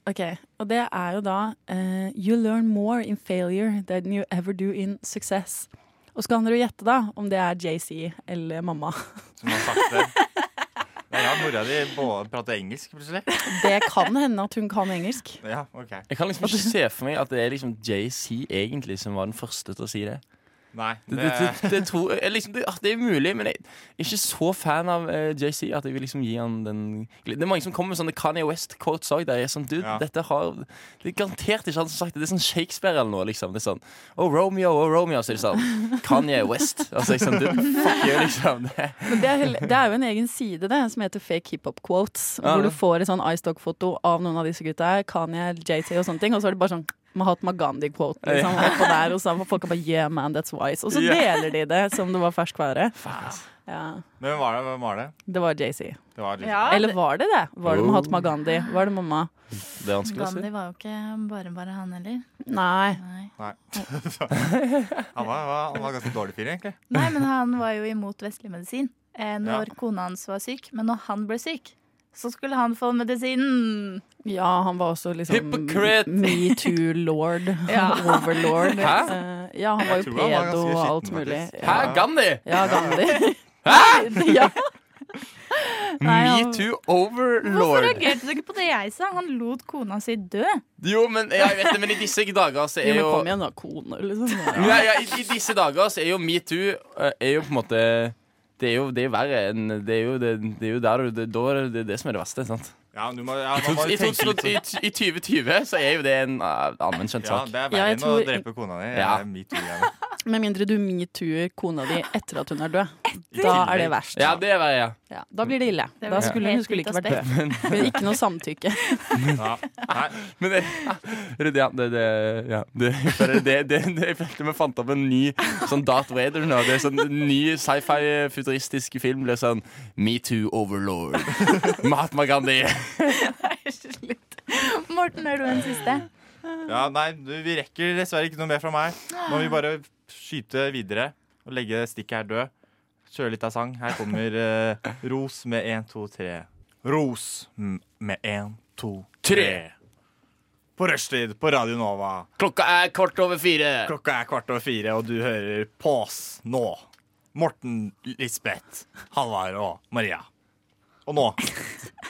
Speaker 6: Ok, Og det er jo da eh, You learn more in failure than you ever do in success. Og så kan dere jo gjette da om det er JC eller mamma.
Speaker 2: Som har sagt det. Det er rart mora di både prater engelsk, plutselig.
Speaker 6: Det kan hende at hun kan engelsk.
Speaker 2: Ja, ok.
Speaker 3: Jeg kan liksom ikke se for meg at det er liksom JC egentlig som var den første til å si det.
Speaker 2: Nei,
Speaker 3: Det,
Speaker 2: det,
Speaker 3: det, det, det, tror, jeg liksom, det, ah, det er mulig, men jeg er ikke så fan av eh, JC at jeg vil liksom gi han den Det er mange som kommer med sånne Kanye West-quotes òg. Der jeg er sånn, dude,
Speaker 2: Ja.
Speaker 3: dette har Det er garantert ikke han som har sagt det. Det er sånn Shakespeare eller noe, liksom. Det er sånn Oh, Romeo, oh, Romeo. Så er det sånn Kanye West. Altså, jeg er sånn, dude, fuck you, liksom. Det.
Speaker 6: Men det, er, hell- det er jo en egen side det, som heter fake hiphop quotes.
Speaker 3: Ja,
Speaker 6: hvor
Speaker 3: det.
Speaker 6: du får et sånn iStock-foto av noen av disse gutta her. Kanye, JT og sånne ting. Og så er det bare sånn Mahatma Gandhi-quote. Liksom, oppå der, og så er folk er bare Yeah, man, that's wise. Og så
Speaker 3: Ja.
Speaker 6: deler de det som det var ferskvare. Ja,
Speaker 2: Men hvem var det? Hvem var det?
Speaker 6: det var JC.
Speaker 2: det var Lisbeth.
Speaker 4: Ja,
Speaker 6: Eller var det det? Var det Mahatma Gandhi? Var det mamma?
Speaker 3: det er vanskelig å si.
Speaker 5: Gandhi var jo ikke bare bare han heller.
Speaker 6: Nei.
Speaker 5: Nei.
Speaker 2: Nei. han, var, han var ganske dårlig fyr, egentlig.
Speaker 5: Nei, men han var jo imot vestlig medisin eh, når
Speaker 2: Ja.
Speaker 5: kona hans var syk. Men når han ble syk, så skulle han få medisinen.
Speaker 6: Ja, han var også liksom
Speaker 3: Hypocrite!
Speaker 6: metoo-lord.
Speaker 5: Ja.
Speaker 6: Overlord.
Speaker 3: Hæ?
Speaker 6: Eh, Ja, han var jo
Speaker 2: Jeg tror han var
Speaker 6: pedo
Speaker 2: ganske
Speaker 6: og alt
Speaker 2: skitten,
Speaker 6: mulig.
Speaker 2: faktisk.
Speaker 3: Hæ,
Speaker 6: Ja,
Speaker 3: Gandhi?
Speaker 6: ja Gandhi. Hæ?! ja. Nei, han-
Speaker 3: Metoo
Speaker 5: Hvorfor
Speaker 3: overlord.
Speaker 5: reagerte du ikke på det jeg sa? Han lot kona si dø.
Speaker 3: Jo, men jeg vet det, men i disse dager så
Speaker 6: Jo,
Speaker 3: er
Speaker 6: men
Speaker 3: jo
Speaker 6: kom igjen da, kone, liksom.
Speaker 3: ja, ja, i, I disse dager så er jo metoo eh, Er jo på en måte Det er jo det er jo verre enn Det er jo det, det, er jo der, du- det, da er det, det er det som er det verste. sant?
Speaker 2: Ja, men du må, ja, man må
Speaker 3: I,
Speaker 2: jo tenke litt sånn.
Speaker 3: 2000 i 2020 så er jo det en uh, allmenkjent
Speaker 2: Ja,
Speaker 3: sak.
Speaker 2: det er
Speaker 6: Ja,
Speaker 2: verre
Speaker 6: jeg
Speaker 2: enn å
Speaker 6: tror-
Speaker 2: drepe kona di.
Speaker 3: Ja.
Speaker 2: Ja.
Speaker 6: Med mindre du metoo-er kona di etter at hun er død. Da er det verst.
Speaker 3: Ja, det var jeg.
Speaker 6: Ja, da blir det ille.
Speaker 5: Det
Speaker 6: Da
Speaker 5: blir
Speaker 6: skulle
Speaker 5: helt
Speaker 6: hun skulle
Speaker 5: ut
Speaker 6: ikke
Speaker 5: av
Speaker 6: vært død. Men Ikke noe samtykke.
Speaker 2: Ja. Nei,
Speaker 3: Men det, det, ja, det, det, ja, det, for det, det, det, Jeg følte vi fant opp en ny sånn Darth Vader nå. Det er sånn en ny sci-fi futuristisk film blir sånn Metoo Overlord. Mahatma Gandhi.
Speaker 5: Slutt. Morten, har du en siste?
Speaker 2: ja, nei du, vi rekker dessverre ikke noe mer fra meg. Nå må vi bare skyte videre og legge stikket her død. Kjøre litt av sang. Her kommer eh, Ros med én, to, tre. Ros m- med én, to, tre.
Speaker 3: Tre.
Speaker 2: På rushtid på Radio Nova.
Speaker 3: Klokka er kvart over fire.
Speaker 2: Klokka er kvart over fire, og du hører på oss nå. Morten, Lisbeth, Halvard og Maria. Og nå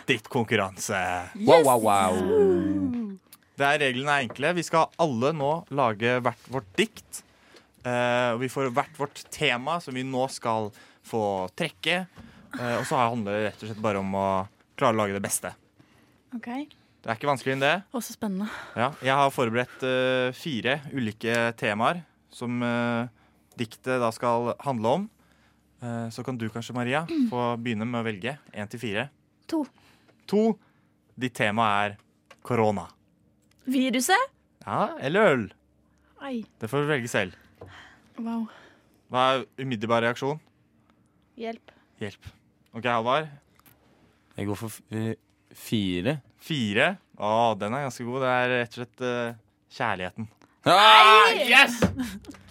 Speaker 2: drittkonkurranse.
Speaker 3: Wow, wow, wow.
Speaker 2: Det er Reglene er enkle. Vi skal alle nå lage hvert vårt dikt. Eh, og vi får hvert vårt tema, som vi nå skal få trekke. Eh, og så handler det rett og slett bare om å klare å lage det beste.
Speaker 5: Ok.
Speaker 2: Det er ikke vanskeligere enn det.
Speaker 6: Å, så spennende.
Speaker 2: Ja, jeg har forberedt eh, fire ulike temaer som eh, diktet da skal handle om. Eh, så kan du kanskje, Maria, få begynne med å velge én til fire.
Speaker 5: Mm. To.
Speaker 2: To. Ditt tema er korona.
Speaker 5: Viruset?
Speaker 2: Ja, eller øl.
Speaker 5: Ai.
Speaker 2: Det får du velge selv.
Speaker 5: Wow.
Speaker 2: Hva er umiddelbar reaksjon?
Speaker 5: Hjelp.
Speaker 2: Hjelp. OK, Halvard.
Speaker 3: Jeg går for f- eh, fire.
Speaker 2: Fire. Å, den er ganske god. Det er rett og slett eh, kjærligheten.
Speaker 3: Ah, yes!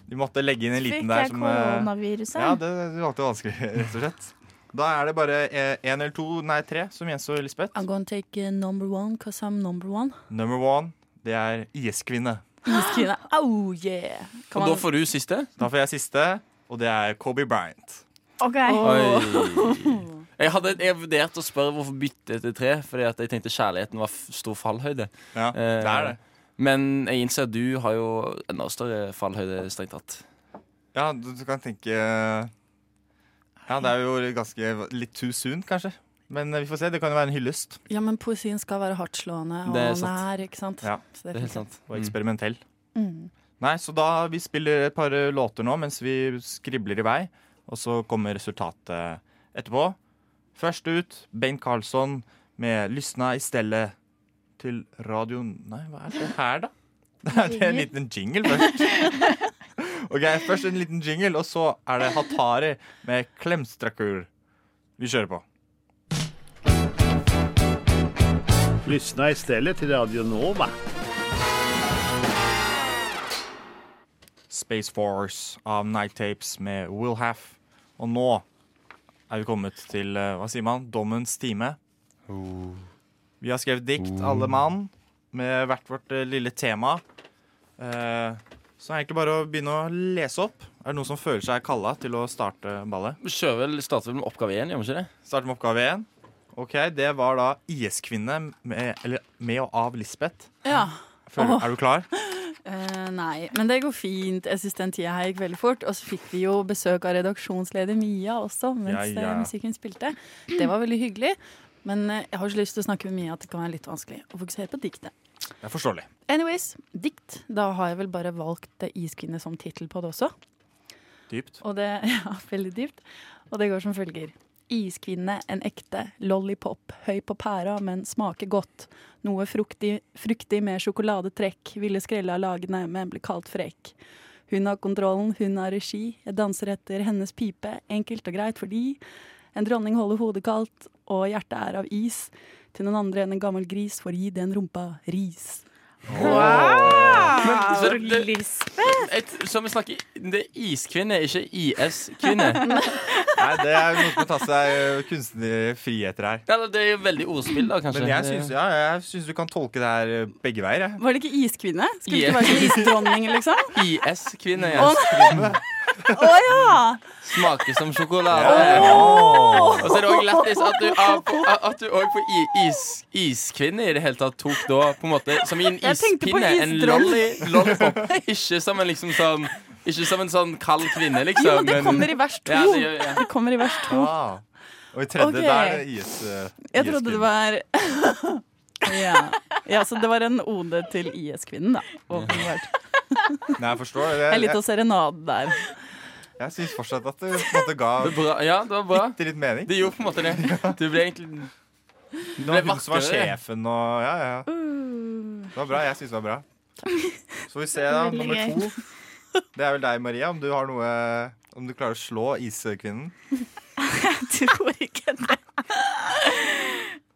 Speaker 2: Du måtte legge inn en liten
Speaker 5: Fikk
Speaker 2: der
Speaker 5: jeg
Speaker 2: som eh,
Speaker 5: koronaviruset?
Speaker 2: Ja, det, det valgte vanskelig, rett og slett. Da er det bare én eller to, nei tre, som gjenstår, Lisbeth.
Speaker 6: I'm gonna take eh, number one, cause I'm number one.
Speaker 2: Number one, det er IS-kvinne.
Speaker 6: Iskvinne. Oh, yeah! Kan
Speaker 3: Og da
Speaker 6: man,
Speaker 3: får du siste.
Speaker 2: Da får jeg siste, og det er Kobe Bryant.
Speaker 5: Ok.
Speaker 3: Oi. Jeg hadde jeg vurderte å spørre hvorfor bytte til tre, fordi at jeg tenkte kjærligheten var f- stor fallhøyde.
Speaker 2: Ja,
Speaker 3: Eh,
Speaker 2: det er det.
Speaker 3: Men jeg innser at du har jo enda større fallhøyde, strengt tatt.
Speaker 2: Ja, du, du kan tenke Ja, det er jo ganske litt too soon, kanskje. Men eh, vi får se. Det kan jo være en hyllest
Speaker 6: ja, men poesien skal være hardtslående og
Speaker 3: Det er sant.
Speaker 6: nær, ikke sant?
Speaker 2: Ja,
Speaker 6: Så
Speaker 3: Det
Speaker 6: det er
Speaker 3: er helt
Speaker 6: fint.
Speaker 3: sant.
Speaker 2: og eksperimentell.
Speaker 6: Mm.
Speaker 2: Nei, så da vi spiller et par eh, låter nå mens vi skribler i vei, og så kommer resultatet etterpå. Først ut Bengt Karlsson med 'Lysna i stellet' til radio... Nei, hva er det her, da? Det er en liten jingle først. OK, først en liten jingle, og så er det Hatari med 'Klemstrakur'. Vi kjører på.
Speaker 7: Lyssna istället till Radio Nova.
Speaker 2: Space Force av Night Tapes med Will Haff. Og nå er vi kommet til, eh, hva sier man, dommens time. Vi har skrevet dikt, alle mann, med hvert vårt eh, lille tema. Eh, Så er det egentlig bare å begynne å lese opp. Er det noen som føler seg kalla til å starte ballet?
Speaker 3: Vi Mm. kjører vel, starter vel med oppgave én, gjør vi ikke det?
Speaker 2: Starte med oppgave én. Ok, det var da IS-kvinne med, eller med og av Lisbeth.
Speaker 6: Ja.
Speaker 2: Føler,
Speaker 6: Åh.
Speaker 2: Er du klar?
Speaker 6: Eh, nei, men det går fint. Jeg syns den tida her gikk veldig fort. Og så fikk vi jo besøk av redaksjonsleder Mia også mens
Speaker 2: Ja, ja.
Speaker 6: eh, musikken spilte. Det var veldig hyggelig. Men eh, jeg har så lyst til å snakke med Mia at det kan være litt vanskelig å fokusere på diktet.
Speaker 2: Det er forståelig.
Speaker 6: Anyways, dikt. Da har jeg vel bare valgt eh, 'Iskvinne' som tittel på det også.
Speaker 2: Dypt.
Speaker 6: Og det ja, veldig dypt. Og det går som følger. Iskvinne, en ekte lollipop, høy på pæra, men smaker godt. Noe fruktig, fruktig med sjokoladetrekk, ville skrelle av lagene, men ble kalt frekk. Hun har kontrollen, hun har regi, jeg danser etter hennes pipe, enkelt og greit fordi en dronning holder hodet kaldt, og hjertet er av is. Til noen andre enn en gammel gris får gi den rumpa ris.
Speaker 3: Så det- det- Et, som vi snakker, det er iskvinne, ikke IS-kvinne.
Speaker 2: Nei, det er noe som må ta seg eh, kunstnerlige friheter her.
Speaker 3: Eller det er jo veldig ordspill, da, kanskje.
Speaker 2: Men jeg syns, ja, jeg syns du kan tolke det her eh, begge veier. Jeg.
Speaker 6: Var det ikke iskvinne? Skulle det
Speaker 3: Yeah.
Speaker 6: ikke være sånn isdronning, liksom?
Speaker 3: IS-kvinne yes.
Speaker 6: Å ja!
Speaker 3: smaker som sjokolade.
Speaker 2: Åh!
Speaker 3: Og så er det òg lættis at du av- at du òg på i- is, iskvinne i det hele tatt tok da på en måte som i en
Speaker 6: Jeg tenkte på
Speaker 3: ispinne. En
Speaker 6: isdronning.
Speaker 3: lolly, lollipop. Ikke som en liksom sånn Ikke som en sånn kald kvinne, liksom.
Speaker 6: Jo, det
Speaker 3: men-
Speaker 6: kommer i vers to.
Speaker 3: Ja, det gjør- ja.
Speaker 6: Det kommer i vers to.
Speaker 2: Ah. Og i tredje,
Speaker 6: Ok.
Speaker 2: der er det IS. eh,
Speaker 6: Jeg trodde det
Speaker 2: IS-kvinne.
Speaker 6: var ja. ja, så det var en ode til IS-kvinnen, da. Åpenbart.
Speaker 2: Nei, jeg forstår det.
Speaker 6: Det er
Speaker 2: Jeg,
Speaker 6: litt
Speaker 2: jeg,
Speaker 6: av serenade der.
Speaker 2: jeg syns fortsatt at det på en måte ga
Speaker 3: Det er bra. Ja, det var bra.
Speaker 2: bitte litt mening.
Speaker 3: Det gjorde på en måte det. Du ble egentlig
Speaker 2: Det var hun som var
Speaker 3: vakrere, det.
Speaker 2: sjefen og Ja, ja. ja.
Speaker 6: Uh.
Speaker 2: Det var bra. Jeg syns det var bra. Så får vi se, da.
Speaker 5: Veldig
Speaker 2: Nummer
Speaker 5: gøy.
Speaker 2: to. Det er vel deg, Maria. Om du har noe Om du klarer å slå iskvinnen.
Speaker 5: tror ikke det.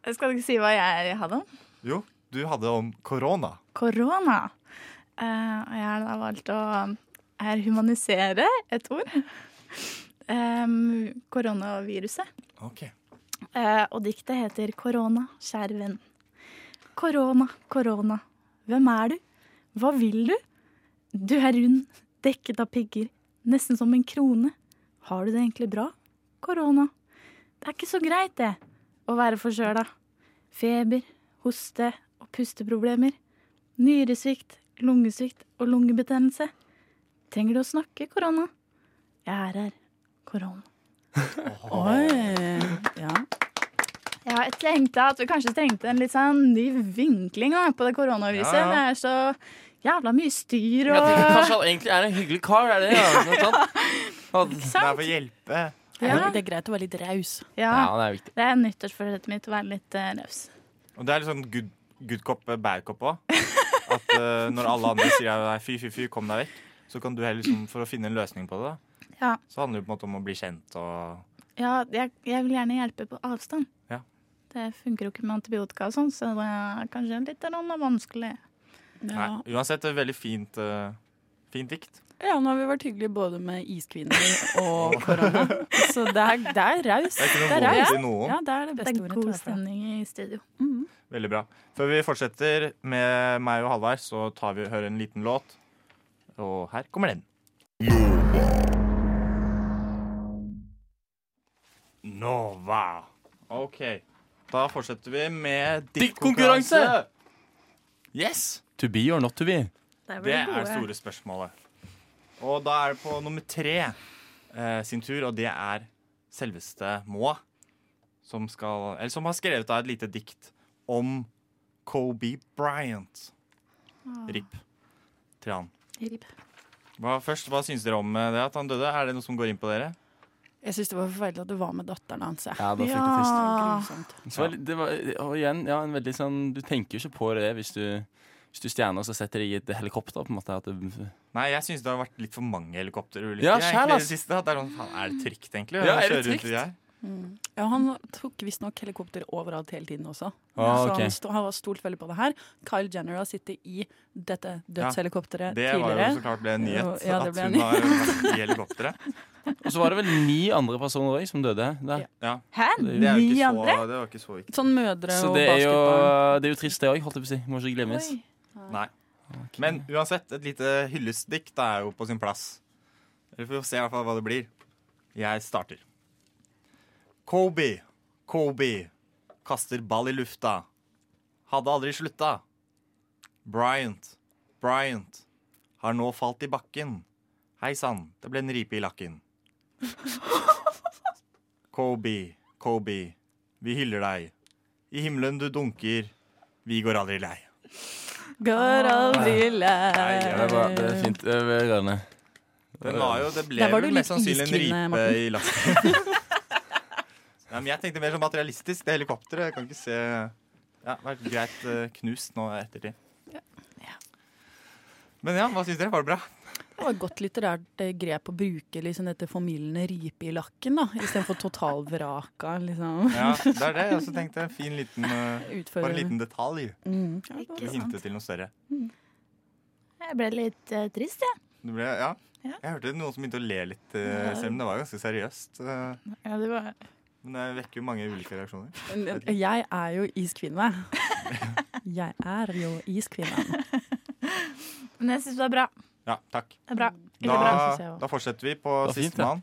Speaker 5: Jeg skal ikke si hva jeg hadde om.
Speaker 2: Jo, du hadde om korona.
Speaker 5: Korona. Eh, Og jeg har da valgt å eh, her humanisere et ord. Em, koronaviruset.
Speaker 2: Ok.
Speaker 5: Eh, og diktet heter 'Korona, kjære venn'. Korona, korona, hvem er du? Hva vil du? Du er rund, dekket av pigger, nesten som en krone. Har du det egentlig bra? Korona. Det er ikke så greit, det, å være forkjøla. Feber, hoste og pusteproblemer. Nyresvikt, lungesvikt og lungebetennelse. Trenger du å snakke, korona? Jeg er her, korona.
Speaker 6: Oi. Ja.
Speaker 5: Ja, jeg tenkte at vi kanskje trengte en litt sånn ny vinkling da, på det koronaviruset.
Speaker 2: Ja, ja.
Speaker 5: Det er så jævla mye styr
Speaker 3: Jeg
Speaker 5: og
Speaker 3: tenker kanskje han egentlig er en hyggelig kar, er det det? Ja, Noe sånt?
Speaker 5: Ikke
Speaker 2: Det er
Speaker 5: sant?
Speaker 2: for å hjelpe.
Speaker 5: Ja,
Speaker 6: Det er greit å være litt raus.
Speaker 5: ja.
Speaker 3: ja, det er viktig.
Speaker 5: Det er nyttårsforsettet mitt å være litt eh, raus.
Speaker 2: Og det er litt sånn good, good cop, eh, bad cop òg. At eh, når alle andre sier deg, nei, fy, fy, fy, kom deg vekk, så kan du heller liksom, for å finne en løsning på det, da,
Speaker 5: Ja.
Speaker 2: så handler det på en måte om å bli kjent og
Speaker 5: Ja, jeg, jeg vil gjerne hjelpe på avstand.
Speaker 2: Ja.
Speaker 5: Det funker jo ikke med antibiotika og sånn, så det er kanskje litt eller annet vanskelig.
Speaker 2: Nei,
Speaker 6: Ja.
Speaker 2: uansett et veldig fint, eh, fint dikt.
Speaker 6: ja, nå har vi vært hyggelige både med iskvinner og korona. Så det er, det er raus.
Speaker 2: Det er ikke noe
Speaker 6: raust.
Speaker 2: vondt i noen.
Speaker 6: Ja, det er
Speaker 5: Det
Speaker 6: det beste
Speaker 5: er
Speaker 6: ordet til
Speaker 5: god
Speaker 6: hvert fall.
Speaker 5: stemning i studio.
Speaker 2: Veldig bra. Før vi fortsetter med meg og Halvard, så tar vi og hører en liten låt. Og her kommer den. Nova. OK. Da fortsetter vi med
Speaker 3: Diktkonkurranse!
Speaker 2: diktkonkurranse. Yes!
Speaker 3: To be or not to be.
Speaker 2: Det er det store spørsmålet. Og da er det på nummer tre eh, sin tur, og det er selveste Moa. Som, skal, eller som har skrevet da et lite dikt om Kobe Bryant. RIP til han.
Speaker 5: Rip.
Speaker 2: Hva, først, hva syns dere om eh, det at han døde? Er det noe som går inn på dere?
Speaker 6: Jeg syns det var forferdelig at det var med datteren hans. jeg.
Speaker 3: Ja, det var fryktelig trist.
Speaker 5: Ja.
Speaker 6: Grusomt.
Speaker 3: Så var, det var, og igjen, ja, en veldig sånn Du tenker jo ikke på det hvis du, hvis du stjerner og så setter deg i et helikopter, på en måte. At det,
Speaker 2: Nei, jeg syns det har vært litt for mange helikopterulykker.
Speaker 3: Ja,
Speaker 2: egentlig,
Speaker 3: sjæl,
Speaker 2: i det
Speaker 3: ass.
Speaker 2: siste, at det er, sånn, faen, er det trygt, egentlig? å
Speaker 3: Ja, er det
Speaker 2: kjøre rundt i
Speaker 3: trygt?
Speaker 2: her?
Speaker 6: Ja, han tok visstnok helikopter overalt hele tiden også.
Speaker 3: Ah,
Speaker 6: Så
Speaker 3: ok.
Speaker 6: han, sto, han har stolt veldig på det her. Kyle Jenner har sittet i dette dødshelikopteret
Speaker 2: Det var
Speaker 6: Eh, tidligere.
Speaker 2: jo så klart ble en nyhet.
Speaker 6: Ja, det ble en
Speaker 2: at hun har vært i helikopteret.
Speaker 3: og så var det vel ni andre personer òg som døde der.
Speaker 6: Ja.
Speaker 2: Ja,
Speaker 5: Hæ?
Speaker 2: det er jo
Speaker 5: Ni
Speaker 2: ikke så,
Speaker 5: andre?
Speaker 2: det var ikke så viktig.
Speaker 6: Sånn mødre
Speaker 3: Så
Speaker 6: og
Speaker 3: det er, jo,
Speaker 6: basketball.
Speaker 3: det er jo trist, det òg, holdt jeg på å si. Må ikke glemmes.
Speaker 5: Oi.
Speaker 2: Nei. Men uansett, et lite hyllestdikt er jo på sin plass. Vi får se i hvert fall hva det blir. Jeg starter. Kobe, Kobe, kaster ball i lufta. Hadde aldri slutta. Bryant, Bryant, har nå falt i bakken. Hei sann, det ble en ripe i lakken. Kobe, Kobe, vi hyller deg. I himmelen du dunker, vi går aldri lei.
Speaker 6: Går
Speaker 5: Ah.
Speaker 6: aldri
Speaker 2: Nei,
Speaker 6: lei.
Speaker 2: ja,
Speaker 3: Det, var, det er fint. Det er rørende.
Speaker 2: Den var jo, det ble
Speaker 6: Der var
Speaker 2: vel
Speaker 6: du
Speaker 2: mest
Speaker 6: litt
Speaker 2: sannsynlig en
Speaker 6: iskvinne,
Speaker 2: ripe
Speaker 6: Morten.
Speaker 2: i lakken. Nei, men jeg tenkte mer sånn materialistisk. Det helikopteret jeg kan ikke se Ja, det har vært greit eh, knust nå i ettertid. Men ja, hva syns dere? Var det bra?
Speaker 6: Det var et godt litterært eh, grep å bruke liksom dette formildende ripe i lakken, da. Istedenfor totalvraka, liksom.
Speaker 2: Ja, det er det. Jeg også tenkte en fin liten, eh, bare en
Speaker 6: Utføre
Speaker 2: liten detalj.
Speaker 6: mm.
Speaker 5: Ikke
Speaker 2: Det
Speaker 5: sant.
Speaker 2: hintet til noe større.
Speaker 5: Jeg ble litt eh, trist, jeg.
Speaker 2: Det ble, ja.
Speaker 5: Ja.
Speaker 2: Jeg hørte noen som begynte å le litt, eh, selv om det var ganske seriøst. eh,
Speaker 5: Ja, det var...
Speaker 2: Men det vekker jo mange ulike reaksjoner.
Speaker 6: Jeg er jo iskvinne. Jeg er jo iskvinnen.
Speaker 5: Men jeg syns det er bra.
Speaker 2: Ja, takk.
Speaker 5: Det er bra. Veldig bra, synes jeg
Speaker 2: Da,
Speaker 5: også.
Speaker 2: da fortsetter vi på
Speaker 3: Det var fint,
Speaker 2: sistemann.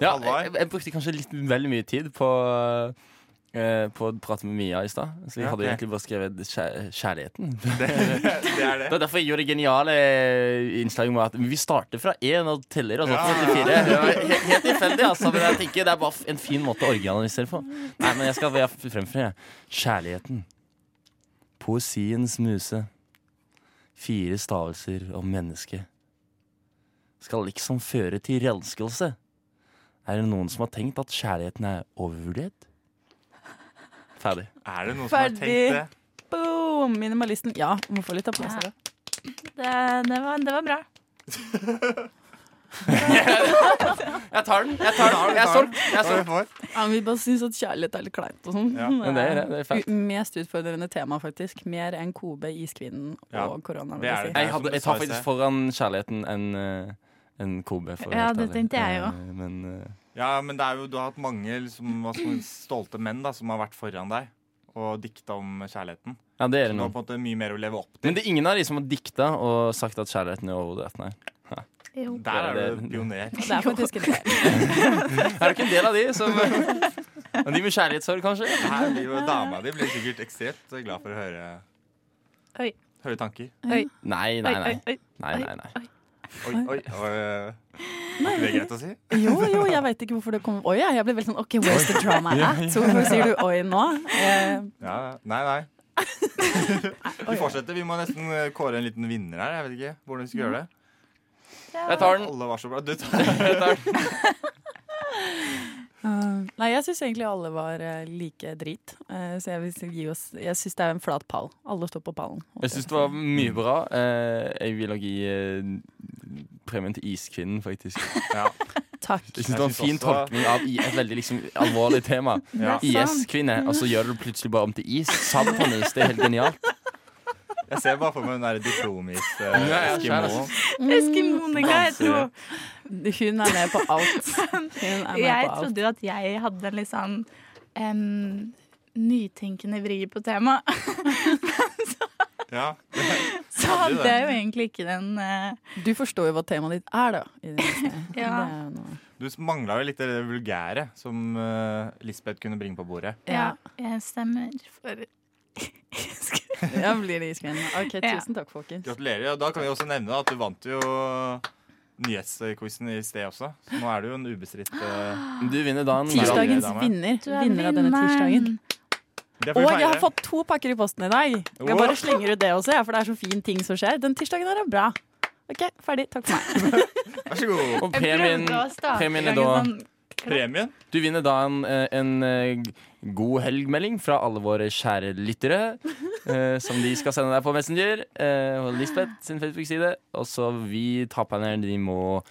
Speaker 3: Ja,
Speaker 2: Halvard?
Speaker 3: jeg, jeg brukte kanskje litt veldig mye tid på, eh, på å prate med Mia i stad. Så jeg
Speaker 2: Ja,
Speaker 3: hadde
Speaker 2: ok.
Speaker 3: egentlig bare skrevet kjær kjærligheten.
Speaker 2: Det, det er det.
Speaker 3: Det er derfor jeg gjorde det geniale innslaget med at vi starter fra én og teller. Altså,
Speaker 2: Ja.
Speaker 3: til 44. Det var he- Helt tilfeldig, altså. Men jeg tenker det er bare en fin måte å organise det på. Nei, men jeg skal være fremføre jeg. kjærligheten. Poesiens muse. fire stavelser om mennesket, skal liksom føre til renskelse. Er det noen som har tenkt at kjærligheten er overvurdert? Ferdig.
Speaker 2: Er det noen som har
Speaker 6: Ferdig.
Speaker 2: tenkt det?
Speaker 6: Boom! Minimalisten. Ja, må få litt applaus. her, da.
Speaker 5: Det, det, var, det var bra.
Speaker 3: Jeg tar den! Jeg tar den. Jeg er solgt. Jeg er solgt.
Speaker 6: Ja, men vi bare syns at kjærlighet er litt kleint og sånn.
Speaker 2: Ja.
Speaker 3: Men det er det, det er fælt.
Speaker 6: U- Mest utfordrende tema, faktisk. Mer enn Kobe, Iskvinnen
Speaker 2: Ja,
Speaker 6: og korona. vil
Speaker 2: det er
Speaker 6: jeg
Speaker 2: det.
Speaker 3: Jeg, hadde, jeg tar faktisk foran kjærligheten en, eh, en kobe. For å være
Speaker 5: Ja,
Speaker 3: helt
Speaker 5: det
Speaker 3: ærlig.
Speaker 5: tenkte jeg også.
Speaker 3: Eh, Men eh,
Speaker 2: Ja, men det er jo, du har hatt mange liksom, hva skal man si, stolte menn da, som har vært foran deg og dikta om kjærligheten.
Speaker 3: ja, det er
Speaker 2: Du
Speaker 3: det
Speaker 2: har
Speaker 3: nå.
Speaker 2: på en måte mye mer å leve opp til.
Speaker 3: Men det er ingen av de som har dikta og sagt at kjærligheten er overvurdert, nei.
Speaker 2: Der
Speaker 5: Jo.
Speaker 3: det er
Speaker 2: er
Speaker 3: det.
Speaker 2: du pioner.
Speaker 6: si. Det er faktisk en del.
Speaker 3: Er det ikke en del av de som Men De med kjærlighetssorg, kanskje?
Speaker 2: Her blir jo Dama di blir sikkert ekstremt glad for å høre,
Speaker 5: Oi.
Speaker 2: høre tanker.
Speaker 3: Nei,
Speaker 5: Oi,
Speaker 3: nei, nei.
Speaker 5: oi, oi.
Speaker 3: nei, nei, nei.
Speaker 2: Oi, oi, oi. Er det greit å si?
Speaker 6: Jo, jo, jeg veit ikke hvorfor det kom Oi, ja, jeg ble veldig sånn OK, where's the drama at? Så Hvorfor sier du oi nå? Eh,
Speaker 2: Ja, nei, nei. Vi fortsetter. Vi må nesten eh, kåre en liten vinner her. Jeg vet ikke hvordan vi
Speaker 3: Mm.
Speaker 2: skal gjøre det.
Speaker 3: Jeg tar den.
Speaker 2: Alle var så bra. Du tar
Speaker 3: Jeg tar den.
Speaker 6: Eh, nei, jeg syns egentlig alle var eh, like drit. Eh, så jeg vil gi oss Jeg syns det er en flat pall. Alle står på pallen.
Speaker 3: Jeg syns det var mye bra. Eh, Jeg vil også gi eh, premien til Iskvinnen, faktisk.
Speaker 2: ja.
Speaker 6: Takk.
Speaker 3: Jeg syns det var en
Speaker 2: Jeg synes
Speaker 3: fin
Speaker 2: også-
Speaker 3: tolkning av i- et veldig liksom, alvorlig tema.
Speaker 2: Ja.
Speaker 3: IS-kvinne, og så gjør du det plutselig bare om til is. Sand på is, det er helt genialt.
Speaker 2: Jeg ser bare for meg den der diplomis eh,
Speaker 3: Ja, ja,
Speaker 2: Eskimo.
Speaker 3: skjønner.
Speaker 5: Eskimoen engang. Jeg, tror-
Speaker 6: Hun er med på alt. Hun er med
Speaker 5: jeg
Speaker 6: på alt.
Speaker 5: trodde jo at jeg hadde en litt sånn em, nytenkende vri på temaet.
Speaker 2: Ja. Hadde du
Speaker 5: Så hadde
Speaker 2: det?
Speaker 5: jeg jo egentlig ikke den eh,
Speaker 6: Du forstår jo hva temaet ditt er, da. I det neste.
Speaker 5: Ja.
Speaker 6: Det er jo noe.
Speaker 2: Du mangla jo litt det vulgære som eh, Lisbeth kunne bringe på bordet.
Speaker 5: Ja, jeg stemmer for
Speaker 6: Ja, blir det iskvinnen. Ok,
Speaker 5: Ja.
Speaker 6: tusen takk, folkens.
Speaker 2: Gratulerer. Og da kan vi også nevne at du vant jo nyhetsquizen i sted også. Så nå er du jo en ubestridt eh,
Speaker 3: Du vinner dagen.
Speaker 2: Tirsdag.
Speaker 6: Tirsdagens
Speaker 2: dame.
Speaker 6: vinner.
Speaker 5: Du er
Speaker 6: Vinner av denne tirsdagen.
Speaker 5: vinneren.
Speaker 2: Det får
Speaker 6: Og
Speaker 2: vi
Speaker 6: jeg har
Speaker 2: feire.
Speaker 6: fått to pakker i posten i dag. Jeg bare slenger ut det også, jeg, for det er så fin ting som skjer. Den tirsdagen her er bra. OK, ferdig. Takk for meg.
Speaker 2: Vær så god.
Speaker 3: Og
Speaker 5: Jeg
Speaker 3: premien,
Speaker 5: prøvde å starte
Speaker 3: premien
Speaker 5: i
Speaker 3: er
Speaker 5: gang
Speaker 3: da
Speaker 5: en sånn-
Speaker 2: Premien.
Speaker 3: Du vinner da en, eh, en eh, god helgmelding fra alle våre kjære lyttere. eh, som de skal sende deg på Messenger eh, og Lisbeth sin Facebook-side. Og så vi taperne, de må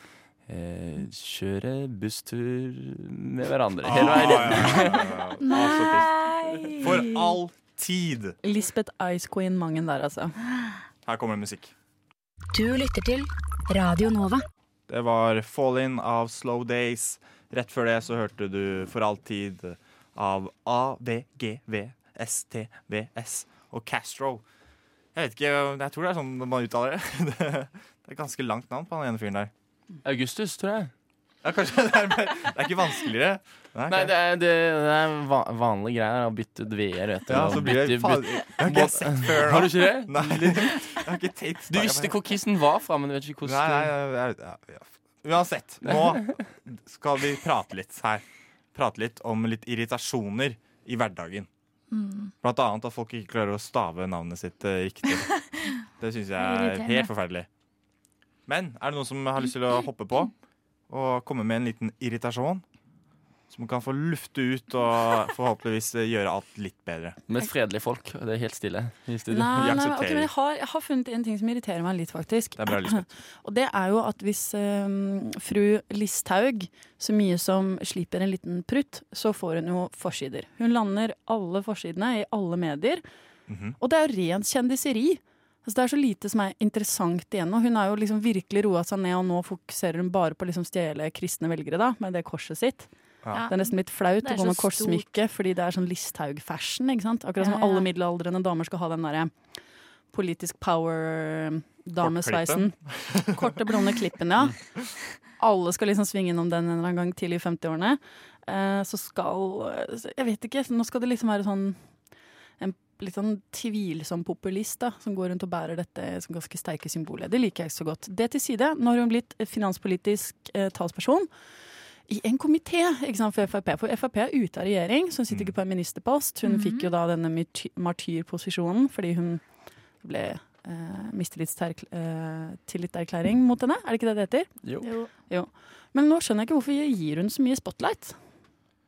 Speaker 3: eh, kjøre busstur med hverandre. Hele
Speaker 2: Ah,
Speaker 3: veien.
Speaker 2: ja, ja, ja, ja. Ah, så trist. For all tid.
Speaker 6: Lisbeth Ice Queen Mangen der, altså.
Speaker 2: Her kommer det musikk.
Speaker 8: Du lytter til Radio Nova.
Speaker 2: Det var Fall In av Slow Days. Rett før det så hørte du For all tid av AVGVSTVS og Castro. Jeg vet ikke, jeg tror det er sånn man uttaler det. Det er et ganske langt navn på han ene fyren der.
Speaker 3: Augustus, tror jeg.
Speaker 2: Ja, kanskje det er, mer, det er ikke vanskeligere. Nei,
Speaker 3: Nei,
Speaker 2: ok.
Speaker 3: det er, det, det er va vanlige greier å bytte ut VR, vet du.
Speaker 2: ja,
Speaker 3: og
Speaker 2: så blir det
Speaker 3: bytte-
Speaker 2: faen, Jeg har ikke sett før
Speaker 3: Har
Speaker 2: nå.
Speaker 3: du ikke det?
Speaker 2: Nei, jeg har ikke tenkt
Speaker 3: Du visste hvor kissen var fra, men du vet ikke
Speaker 2: Nei, nei,
Speaker 3: hvordan
Speaker 2: jeg- jeg- ja, ja. Uansett, nå skal vi prate litt her. Prate litt om litt irritasjoner i hverdagen. Blant annet at folk ikke klarer å stave navnet sitt eh, riktig. Det syns jeg er
Speaker 5: Irriterende.
Speaker 2: helt forferdelig. Men er det noen som har lyst til å hoppe på og komme med en liten irritasjon? Som kan få lufte ut og forhåpentligvis eh, gjøre alt litt bedre.
Speaker 3: du Med fredelige folk. og Det er helt stille i
Speaker 6: Nei,
Speaker 3: studio.
Speaker 6: nei,
Speaker 2: Jeg
Speaker 6: nei,
Speaker 2: aksepterer.
Speaker 6: ok, men jeg, har, jeg har funnet en ting som irriterer meg litt, faktisk.
Speaker 2: Det er bra, Lisbeth.
Speaker 6: Og det er jo at hvis eh, fru Listhaug så mye som slipper en liten prutt, så får hun jo forsider. Hun lander alle forsidene i alle medier. Og det er jo rent kjendiseri. Altså, det er så lite som er interessant igjen. Og hun har jo liksom virkelig roa seg ned, og nå fokuserer hun bare på å liksom stjele kristne velgere da, med det korset sitt.
Speaker 2: Ja.
Speaker 6: Det er nesten litt flaut
Speaker 5: Det er
Speaker 6: å gå med
Speaker 5: så stort.
Speaker 6: korssmykke fordi det er sånn Listhaug-fashion. ikke sant? Akkurat som
Speaker 5: Ja, ja.
Speaker 6: alle middelaldrende damer skal ha den derre politisk power-damesveisen. Korte, blonde klippen, ja. Alle skal liksom svinge innom den en eller annen gang til i 50-årene. Eh, så skal eh, så Jeg vet ikke. så Nå skal det liksom være sånn en litt sånn tvilsom populist da, som går rundt og bærer dette som ganske sterke symbolet. Det liker jeg ikke så godt. Det til side. Nå har hun blitt finanspolitisk eh, talsperson i en komité ikke sant, for Frp. For Frp er ute av regjering, så hun sitter ikke på en ministerpost. Hun fikk jo da denne myty- martyrposisjonen fordi hun ble eh, mistillitserklæring mot henne. Er det ikke det det heter?
Speaker 3: Jo.
Speaker 6: Men nå skjønner jeg ikke hvorfor jeg gir hun så mye spotlight.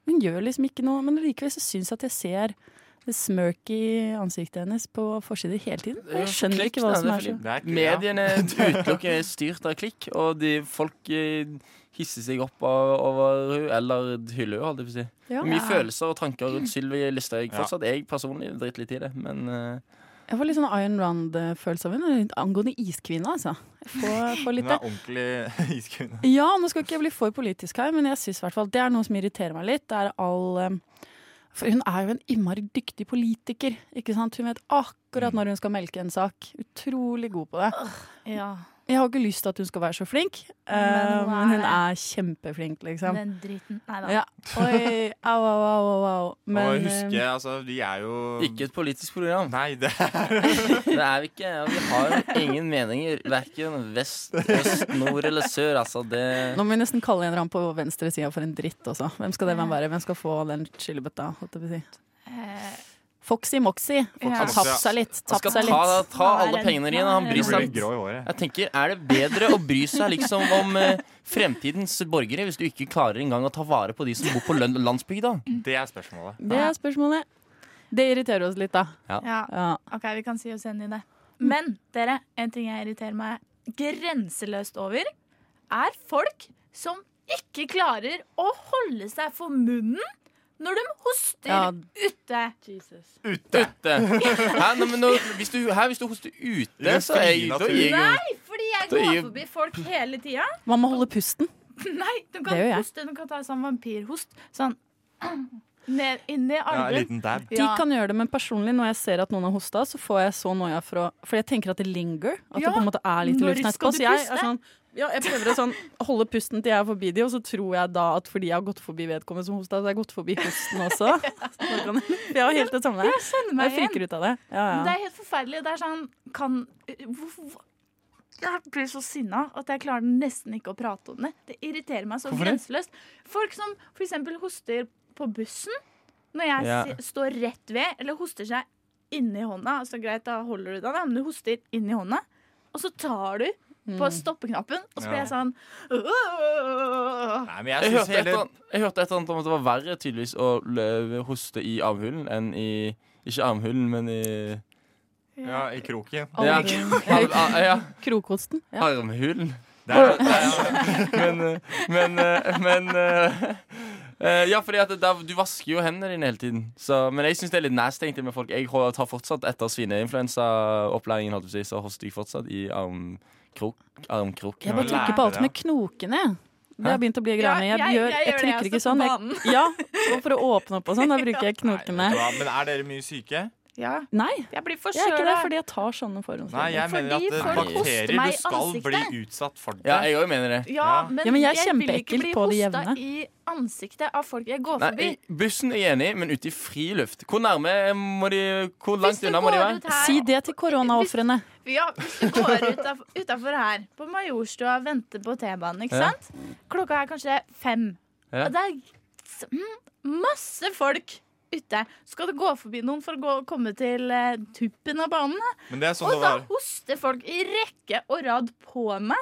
Speaker 6: Hun gjør liksom ikke noe, men likevel så syns jeg at jeg ser det smirk i ansiktet hennes på forsider hele tiden. Og Jeg skjønner ikke hva som er så
Speaker 2: Det er ikke, ja.
Speaker 3: Mediene utelukkende er styrt av klikk, og de, folk eh, hisser seg opp av, over henne, eller hyller henne, holdt jeg på å si.
Speaker 6: Ja.
Speaker 3: Mye følelser og tanker rundt Sylvi Listhaug.
Speaker 2: Ja.
Speaker 3: Fortsatt jeg personlig driter litt i det, men eh,
Speaker 6: Jeg får litt sånn Iron Round-følelse av henne. Angående iskvinne, altså. Jeg får, får litt
Speaker 2: Hun
Speaker 6: det.
Speaker 2: er ordentlig iskvinne.
Speaker 6: Ja, nå skal ikke jeg bli for politisk her, men jeg synes i hvert fall det er noe som irriterer meg litt. Det er all eh, For hun er jo en innmari dyktig politiker, ikke sant. Hun vet akkurat når hun skal melke en sak. Utrolig god på det.
Speaker 5: Ja,
Speaker 6: Jeg har ikke lyst til at hun skal være så flink, eh,
Speaker 5: Men hun er
Speaker 6: men hun
Speaker 5: det.
Speaker 6: er kjempeflink, liksom.
Speaker 5: den driten. Nei da.
Speaker 6: Ja. Oi, au, au, au, au, au.
Speaker 2: og
Speaker 6: Men
Speaker 2: huske,
Speaker 6: eh,
Speaker 2: altså, vi er jo
Speaker 3: ikke et politisk program.
Speaker 2: Nei, det er
Speaker 3: Det er vi ikke. og Vi har ingen meninger verken vest, øst, nord eller sør. Altså, det
Speaker 6: eh, nå må vi nesten kalle en eller annen på venstresida for en dritt også. Hvem skal det være? Hvem skal få den skyllebøtta? holdt jeg på å si?
Speaker 5: Eh,
Speaker 6: Foxy Moxy.
Speaker 2: Ja.
Speaker 6: Har tapt seg litt.
Speaker 3: Han skal
Speaker 6: Tapt seg
Speaker 3: ta,
Speaker 6: litt.
Speaker 3: ta alle pengene dine. Han bryr
Speaker 2: Jeg blir
Speaker 3: seg
Speaker 2: grå i håret.
Speaker 3: Jeg tenker, Er det bedre å bry seg liksom om eh, fremtidens borgere hvis du ikke klarer engang å ta vare på de som bor på lønn- landsbygda?
Speaker 2: Det er spørsmålet.
Speaker 6: Det er spørsmålet. Det irriterer oss litt, da.
Speaker 5: ja,
Speaker 6: Ja.
Speaker 5: OK, vi kan si oss enig i det.
Speaker 6: Mm.
Speaker 5: Men dere, en ting jeg irriterer meg grenseløst over, er folk som ikke klarer å holde seg for munnen når de hoster
Speaker 6: Ja.
Speaker 5: ute.
Speaker 3: Ute. Hæ, nei, men nå, hvis, du, hæ, hvis du hoster ute, så er jeg, da gir jeg jo
Speaker 5: Nei, fordi jeg
Speaker 3: Da
Speaker 5: går
Speaker 3: gir-
Speaker 5: forbi folk hele tida.
Speaker 6: Man må holde pusten.
Speaker 5: Nei, de
Speaker 6: Det gjør
Speaker 5: kan
Speaker 6: jeg.
Speaker 5: hoste. De kan ta sånn vampyrhost. Sånn ned inni
Speaker 2: Ja, en
Speaker 5: albuen.
Speaker 2: liten dab.
Speaker 6: De kan gjøre det, men personlig når jeg ser at noen har hosta, så får jeg så noia fra For jeg tenker at det linger. At
Speaker 5: Ja.
Speaker 6: det på en måte er litt i
Speaker 5: Når
Speaker 6: luften
Speaker 5: skal
Speaker 6: etterpå.
Speaker 5: du
Speaker 6: Så jeg er
Speaker 5: puste?
Speaker 6: sånn ja, jeg prøver å sånn, holde pusten til jeg er forbi de, og så tror jeg da at fordi jeg har gått forbi vedkommende som hosta, så har jeg gått forbi hosten også. Så da kan- Vi har jo helt det samme der.
Speaker 5: kjenner
Speaker 6: Jeg
Speaker 5: meg igjen.
Speaker 6: friker ut av det. Ja,
Speaker 5: Men Det
Speaker 6: ja.
Speaker 5: er helt forferdelig. Det er sånn kan, hvor, hvor, Jeg blir så sinna at jeg klarer nesten ikke å prate om det. Det irriterer meg så grenseløst. Folk som f.eks. hoster på bussen når jeg
Speaker 3: Ja.
Speaker 5: si- står rett ved, eller hoster seg inni hånda. Altså greit, da holder du deg, da, men du hoster inni hånda, og så tar du
Speaker 6: Mm.
Speaker 5: på stoppeknappen, og så blir
Speaker 2: Ja.
Speaker 5: jeg sånn «Åh!»
Speaker 2: Nei, men jeg
Speaker 3: Jeg
Speaker 2: synes
Speaker 3: hørte, et eller
Speaker 2: heller
Speaker 3: annet, jeg hørte et eller annet om at det var verre tydeligvis å lø- hoste i armhulen enn i Ikke armhulen, men i
Speaker 5: sånn-
Speaker 2: ja, i kroken.
Speaker 3: ja,
Speaker 6: Albuen.
Speaker 3: ar, ar, ja,
Speaker 6: Krokhosten. Ja.
Speaker 3: armhulen.
Speaker 2: Det er, det er,
Speaker 3: Men, eh, men, eh, men eh, eh, Ja, fordi at det der, du vasker jo hendene dine hele tiden. Så, men jeg syns det er litt nasty egentlig med folk. Jeg hå- tar fortsatt etter svineinfluensaopplæringen, holdt jeg på å si, så hoster jeg fortsatt i armkrok. Armkrok.
Speaker 6: Jeg bare trykker på alt med knokene. jeg. Det har begynt å bli en greie.
Speaker 5: Ja,
Speaker 6: Jeg, gjør, jeg trykker ikke sånn. Jeg,
Speaker 5: Jeg,
Speaker 6: ja, og for å åpne opp og sånn, da bruker jeg knokene.
Speaker 2: Ja, men er dere mye syke?
Speaker 5: ja,
Speaker 6: Nei,
Speaker 5: jeg blir
Speaker 6: jeg er ikke det,
Speaker 5: forkjøla.
Speaker 6: fordi jeg tar sånne forhåndsregler.
Speaker 2: Nei, jeg
Speaker 5: Fordi
Speaker 2: mener at eh,
Speaker 5: folk
Speaker 3: koster
Speaker 2: bakterier
Speaker 5: meg i
Speaker 2: Du skal bli
Speaker 5: ansiktet.
Speaker 2: utsatt for det.
Speaker 3: Ja, jeg òg mener det.
Speaker 5: Ja,
Speaker 2: Ja.
Speaker 5: men,
Speaker 6: Ja, men jeg er
Speaker 5: vil ikke
Speaker 6: kjempeekkel
Speaker 5: bli
Speaker 6: på det
Speaker 5: hosta
Speaker 6: jevne.
Speaker 5: i ansiktet av folk jeg går
Speaker 3: Nei,
Speaker 5: forbi.
Speaker 3: i- bussen er jeg enig, i, men ute i friluft. Hvor nærme må de Hvor langt
Speaker 5: du
Speaker 3: unna må de
Speaker 5: går
Speaker 3: være?
Speaker 5: ut her-
Speaker 6: Si det til koronaofrene.
Speaker 5: Ja, hvis du går utaf- utafor her, på Majorstua, venter på T-banen, ikke
Speaker 3: Ja.
Speaker 5: sant? Klokka er kanskje fem.
Speaker 3: Ja.
Speaker 5: Og det er s- mm, masse folk ute. Skal du gå forbi noen for å gå, komme til eh, tuppen av banen? da?
Speaker 2: Men det er sånn det
Speaker 5: Og da
Speaker 2: var.
Speaker 5: hoster folk i rekke og rad på meg.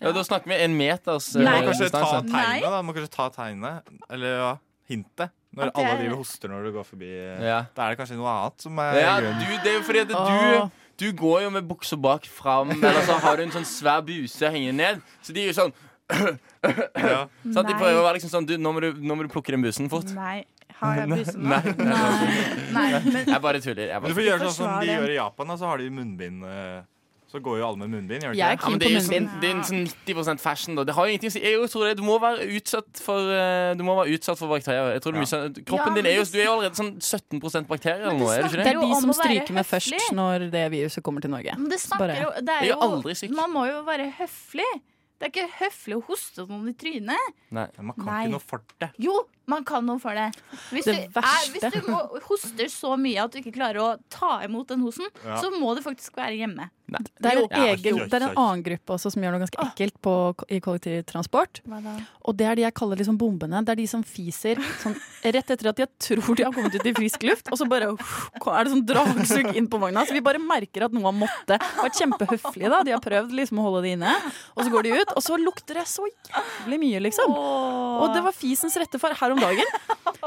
Speaker 3: Ja, da snakker vi en meters
Speaker 2: Du må
Speaker 3: eh,
Speaker 2: kanskje ta
Speaker 3: distanse.
Speaker 2: tegnet,
Speaker 5: Nei.
Speaker 2: da. Du må kanskje ta tegnet, eller ja, hintet. Når
Speaker 5: At det
Speaker 2: alle
Speaker 5: er-
Speaker 2: driver og hoster når du går forbi.
Speaker 3: Ja.
Speaker 2: Da er det kanskje noe annet som er
Speaker 3: Ja,
Speaker 2: grunnen.
Speaker 3: du, det er jo fordi at du Du går jo med buksa bak fram, eller så har du en sånn svær buse hengende ned. Så de er jo sånn
Speaker 2: Ja.
Speaker 3: så at De
Speaker 5: Nei.
Speaker 3: prøver å være liksom sånn du, nå, må du, 'Nå må du plukke den busen fort'.
Speaker 5: Nei, har jeg bussen nå?
Speaker 3: Nei, nei,
Speaker 5: Nei, men
Speaker 3: jeg bare tuller. Jeg
Speaker 2: Men du
Speaker 3: bare.
Speaker 2: får gjøre sånn som
Speaker 5: forsvar
Speaker 2: de
Speaker 5: det.
Speaker 2: gjør i Japan, da. Så har de munnbind. eh, Så går jo alle med munnbind, gjør de
Speaker 6: Jeg
Speaker 2: ikke
Speaker 6: er
Speaker 2: det?
Speaker 3: Ja, men
Speaker 6: keen
Speaker 3: det
Speaker 6: på
Speaker 3: er jo sånn,
Speaker 6: munnbind.
Speaker 3: det er en sånn 90 fashion, da. Det har jo ingenting å si. Jeg jo tror det, du må være utsatt for eh, Du må være utsatt for bakterier. Jeg tror det er mye sånn,
Speaker 5: Ja,
Speaker 3: kroppen
Speaker 5: men
Speaker 3: din er jo
Speaker 5: det-
Speaker 3: Du er jo allerede sånn 17 bakterier eller
Speaker 5: Men det
Speaker 3: noe, er du ikke
Speaker 6: Det
Speaker 3: det?
Speaker 6: er
Speaker 5: Jo,
Speaker 6: de
Speaker 5: om
Speaker 6: som
Speaker 5: å være
Speaker 6: stryker med
Speaker 5: høflig.
Speaker 6: først når det viruset kommer til Norge.
Speaker 5: Men det snakker
Speaker 6: Bare-
Speaker 5: jo det er
Speaker 3: Jeg er
Speaker 5: jo,
Speaker 3: aldri syk.
Speaker 5: Man må jo være høflig. Det er ikke høflig å hoste noen i trynet.
Speaker 3: Nei.
Speaker 2: Men Man kan
Speaker 5: Nei.
Speaker 2: ikke noe for det.
Speaker 5: Jo, man kan noe for det. Hvis,
Speaker 6: Det
Speaker 5: du, er,
Speaker 6: verste.
Speaker 5: hvis du må, hoster så mye at du ikke klarer å ta imot den hosen,
Speaker 2: Ja.
Speaker 5: så må du faktisk være hjemme.
Speaker 3: Nei.
Speaker 6: Det er, jo
Speaker 3: Ja,
Speaker 6: egen,
Speaker 2: sorry,
Speaker 6: det er en
Speaker 2: sorry.
Speaker 6: annen gruppe også som gjør noe ganske ekkelt på, i kollektivtransport.
Speaker 5: Ah. Hva da?
Speaker 6: Og det er de jeg kaller liksom bombene. Det er de som fiser sånn, rett etter at jeg tror de har kommet ut i frisk luft. Og så bare uff, er det sånn dragsug inn på vogna. Så vi bare merker at noen måtte. Vært kjempehøflige, da. De har prøvd liksom å holde det inne. Og så går de ut, og så lukter det så jævlig mye, liksom. Og det var fisens rette far her om dagen.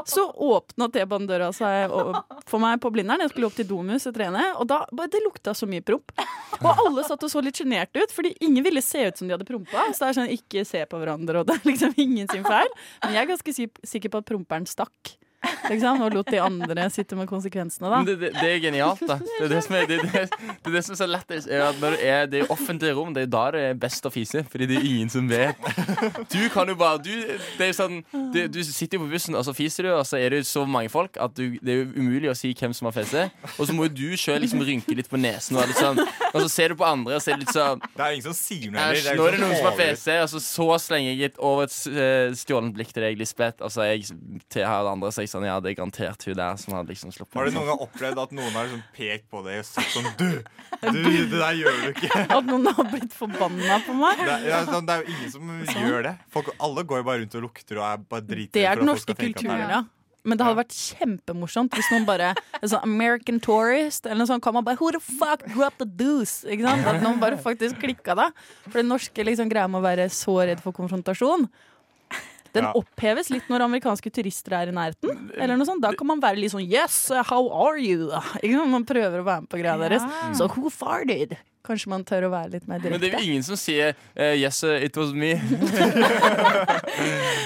Speaker 6: Så åpna T-banedøra seg og- for meg på Blindern. Jeg skulle opp til Domus og trene, og da bare, det lukta så mye promp. Og alle satt og så litt sjenerte ut, fordi ingen ville se ut som de hadde prompa. Så det er sånn ikke se på hverandre, og det er liksom ingen sin feil. Men jeg er ganske si- sikker på at promperen stakk. Liksom, og lot de andre sitte med konsekvensene, da.
Speaker 3: Men det, det, det er genialt, da. Det er det som er, det, det, det, er det som er så lættis. Er at når det er det er offentlige rom, det er da det er best å fise. Fordi det er ingen som vet. Du kan jo bare Du, det er jo sånn, du, du sitter jo på bussen, og så fiser du, og så er det jo så mange folk at du, det er jo umulig å si hvem som har feset. Og så må jo du sjøl liksom rynke litt på nesen, og, være litt sånn, og så ser du på andre, og så er det litt sånn
Speaker 2: Det er jo sånn ingen som sier noe
Speaker 3: Æsj,
Speaker 2: heller.
Speaker 3: nå er det noen som har
Speaker 2: overrasker.
Speaker 3: PC, og så, så slenger jeg et over et eh, stjålent blikk til deg, Lisbeth. Og så er jeg til her det andre, så er jeg sånn, ja, det er garantert hun der som hadde liksom sluppet
Speaker 2: Har du noen gang opplevd at noen har liksom pekt på deg og sagt sånn Du, du det der gjør du ikke.
Speaker 6: At noen har blitt forbanna på meg.
Speaker 2: Det er, ja, sånn, det er jo ingen som gjør det. Folk, alle går jo bare rundt og lukter og er bare driter.
Speaker 6: Det
Speaker 2: for at
Speaker 6: er den
Speaker 2: folk
Speaker 6: norske
Speaker 2: skal tenke at det er
Speaker 6: kulturen,
Speaker 2: det.
Speaker 6: ja. Men det hadde vært kjempemorsomt hvis noen bare en sånn American tourist eller noe sånt kom og bare Who the fuck drop the deuce? Ikke sant? At noen bare faktisk klikka da. For den norske liksom, greia med å være så redd for konfrontasjon, den
Speaker 2: Ja.
Speaker 6: oppheves litt når amerikanske turister er i nærheten. Eller noe sånt. Da kan man være litt sånn Yes, how are you? Ikke sant? Man prøver å være med på greia deres. Så who farted? Kanskje man tør å være litt mer
Speaker 3: Men det er
Speaker 6: direkte.
Speaker 3: jo ingen som sier eh, 'yes, uh, it was me'.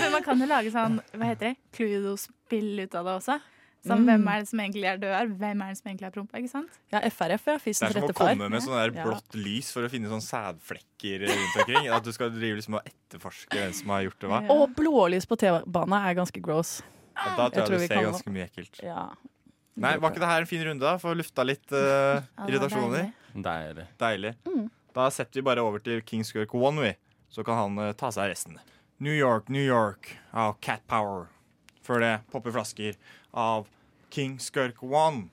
Speaker 5: Men man kan jo lage sånn, hva heter det, Cluedo-spill ut av det også.
Speaker 6: Mm.
Speaker 5: Som hvem er det som egentlig er død her, hvem er det som egentlig er prompa, ikke sant?
Speaker 6: Ja, FRF, ja.
Speaker 2: Det
Speaker 6: Fisens
Speaker 2: er som å
Speaker 6: rette far.
Speaker 2: komme med sånn der
Speaker 6: Ja.
Speaker 2: blått lys for å finne sånn sædflekker rundt omkring. At du skal drive liksom og etterforske hvem som har gjort det hva.
Speaker 5: Ja.
Speaker 6: Og blålys på T-bane er ganske gross.
Speaker 2: Ja, Da
Speaker 6: Jeg
Speaker 2: tror
Speaker 6: tror
Speaker 2: jeg du
Speaker 6: vi
Speaker 2: ser
Speaker 6: kan-
Speaker 2: ganske mye ekkelt.
Speaker 6: Ja.
Speaker 2: Nei, Var ikke det her en fin runde? da? Få lufta litt eh, irritasjoner.
Speaker 3: Deilig.
Speaker 2: Deilig.
Speaker 6: Mm.
Speaker 2: Da setter vi bare over til King Skurk One, vi. Så kan han eh, ta seg av resten. New York, New York av Cat Power. Før det popper flasker av King Skurk One.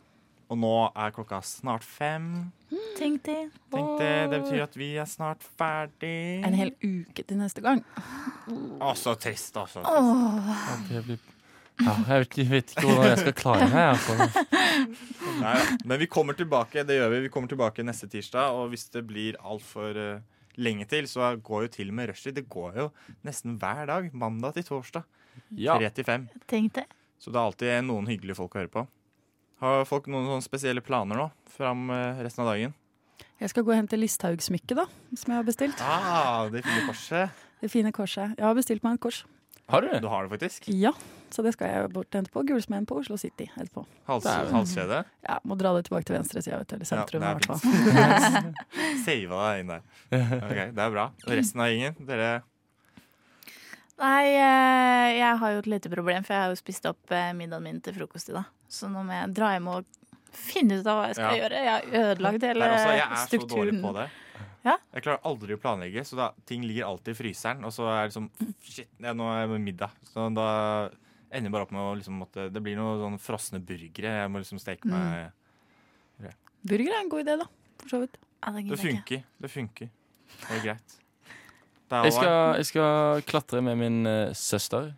Speaker 2: Og nå er klokka snart fem.
Speaker 5: Tenk det.
Speaker 2: Tenk det, det betyr at vi er snart ferdig.
Speaker 6: En hel uke til neste gang.
Speaker 2: Å, så trist, altså.
Speaker 3: Jeg, blir, ja, jeg, vet, jeg vet ikke hvordan jeg skal klare meg. Altså.
Speaker 2: Nei, ja. men vi kommer tilbake, det gjør vi. Vi kommer tilbake neste tirsdag, og hvis det blir altfor uh, lenge til, så går jo til og med rushtid. Det går jo nesten hver dag, mandag til torsdag.
Speaker 3: Ja.
Speaker 2: Tre til fem.
Speaker 5: Tenk det.
Speaker 2: Så det er alltid noen hyggelige folk å høre på. Har folk noen sånne spesielle planer nå fram eh, resten av dagen?
Speaker 6: Jeg skal gå og hente Listhaug-smykket, da, som jeg har bestilt.
Speaker 2: Ah, det fine korset.
Speaker 6: Det fine korset. Jeg har bestilt meg et kors.
Speaker 3: Har du det?
Speaker 2: Du har det faktisk.
Speaker 6: Ja, så det skal jeg bort og hente på Gullsmeden på Oslo City etterpå.
Speaker 2: Hals,
Speaker 3: Det er jo-
Speaker 2: halskjede.
Speaker 6: Ja, Må dra det tilbake til venstresida, vet du. Eller sentrum, i
Speaker 2: det
Speaker 6: hvert
Speaker 2: er
Speaker 6: fall.
Speaker 2: Sava deg inn der. Ok, Det er bra. Og resten av gjengen, dere
Speaker 5: Nei, eh, jeg har jo et lite problem, for jeg har jo spist opp eh, middagen min til frokost i dag. Så nå må jeg dra hjem og finne ut av hva jeg skal
Speaker 2: Ja.
Speaker 5: gjøre. Jeg har ødelagt
Speaker 2: Det
Speaker 5: hele
Speaker 2: er også, altså, jeg er så dårlig
Speaker 5: strukturen.
Speaker 2: på det.
Speaker 5: Ja.
Speaker 2: Jeg klarer aldri å planlegge, så da, ting ligger alltid i fryseren. Og så er det liksom Shit, ja, nå er det middag. Så da ender jeg bare opp med å liksom måtte Det blir noen sånne frosne burgere. Jeg må liksom steke meg
Speaker 6: Burger er en god idé, da. For så vidt.
Speaker 5: Ja, det
Speaker 2: Det
Speaker 5: gidder jeg ikke.
Speaker 2: funker. Det funker. Det er greit. Det er all
Speaker 3: Jeg
Speaker 2: right.
Speaker 3: skal, jeg skal klatre med min eh, søster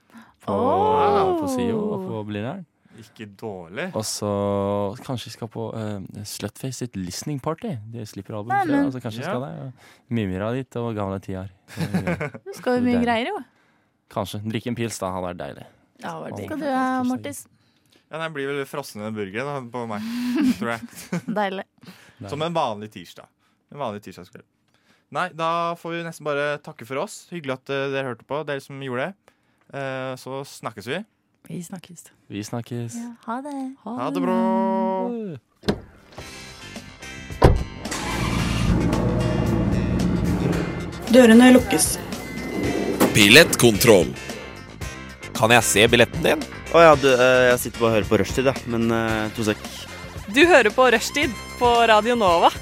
Speaker 3: på,
Speaker 5: Åh.
Speaker 3: på SIO og på Blindern.
Speaker 2: Ikke dårlig.
Speaker 3: Og så kanskje jeg skal på uh, Slutface sitt listening party. De slipper album
Speaker 5: Nei,
Speaker 3: før,
Speaker 5: men-
Speaker 3: og så kanskje jeg
Speaker 2: Ja.
Speaker 3: skal der. og Mimre dit og gamle tiår. Eh,
Speaker 5: Du skal jo mye
Speaker 3: Deilig.
Speaker 5: greier, jo.
Speaker 3: Kanskje. Drikke en pils, da. Hadde vært deilig.
Speaker 6: Ja, det var digg.
Speaker 5: Skal du, eh, Mortis?
Speaker 2: Ja, det blir vel frosne burgere da, på meg, tror jeg.
Speaker 5: Deilig.
Speaker 3: Nei.
Speaker 2: Som en vanlig tirsdag. En vanlig tirsdagskveld. Nei, da får vi nesten bare takke for oss. Hyggelig at eh, dere hørte på, dere som gjorde det. Eh, så snakkes vi.
Speaker 6: Vi snakkes.
Speaker 3: Vi snakkes.
Speaker 5: Ha det.
Speaker 2: Ha det bra!
Speaker 9: Dørene lukkes.
Speaker 10: Billettkontroll. Kan jeg se billetten din?
Speaker 11: Å ja, du, eh, jeg sitter bare og hører på rushtid, jeg. Men eh, to sek.
Speaker 9: Du hører på Rushtid på Radio Nova.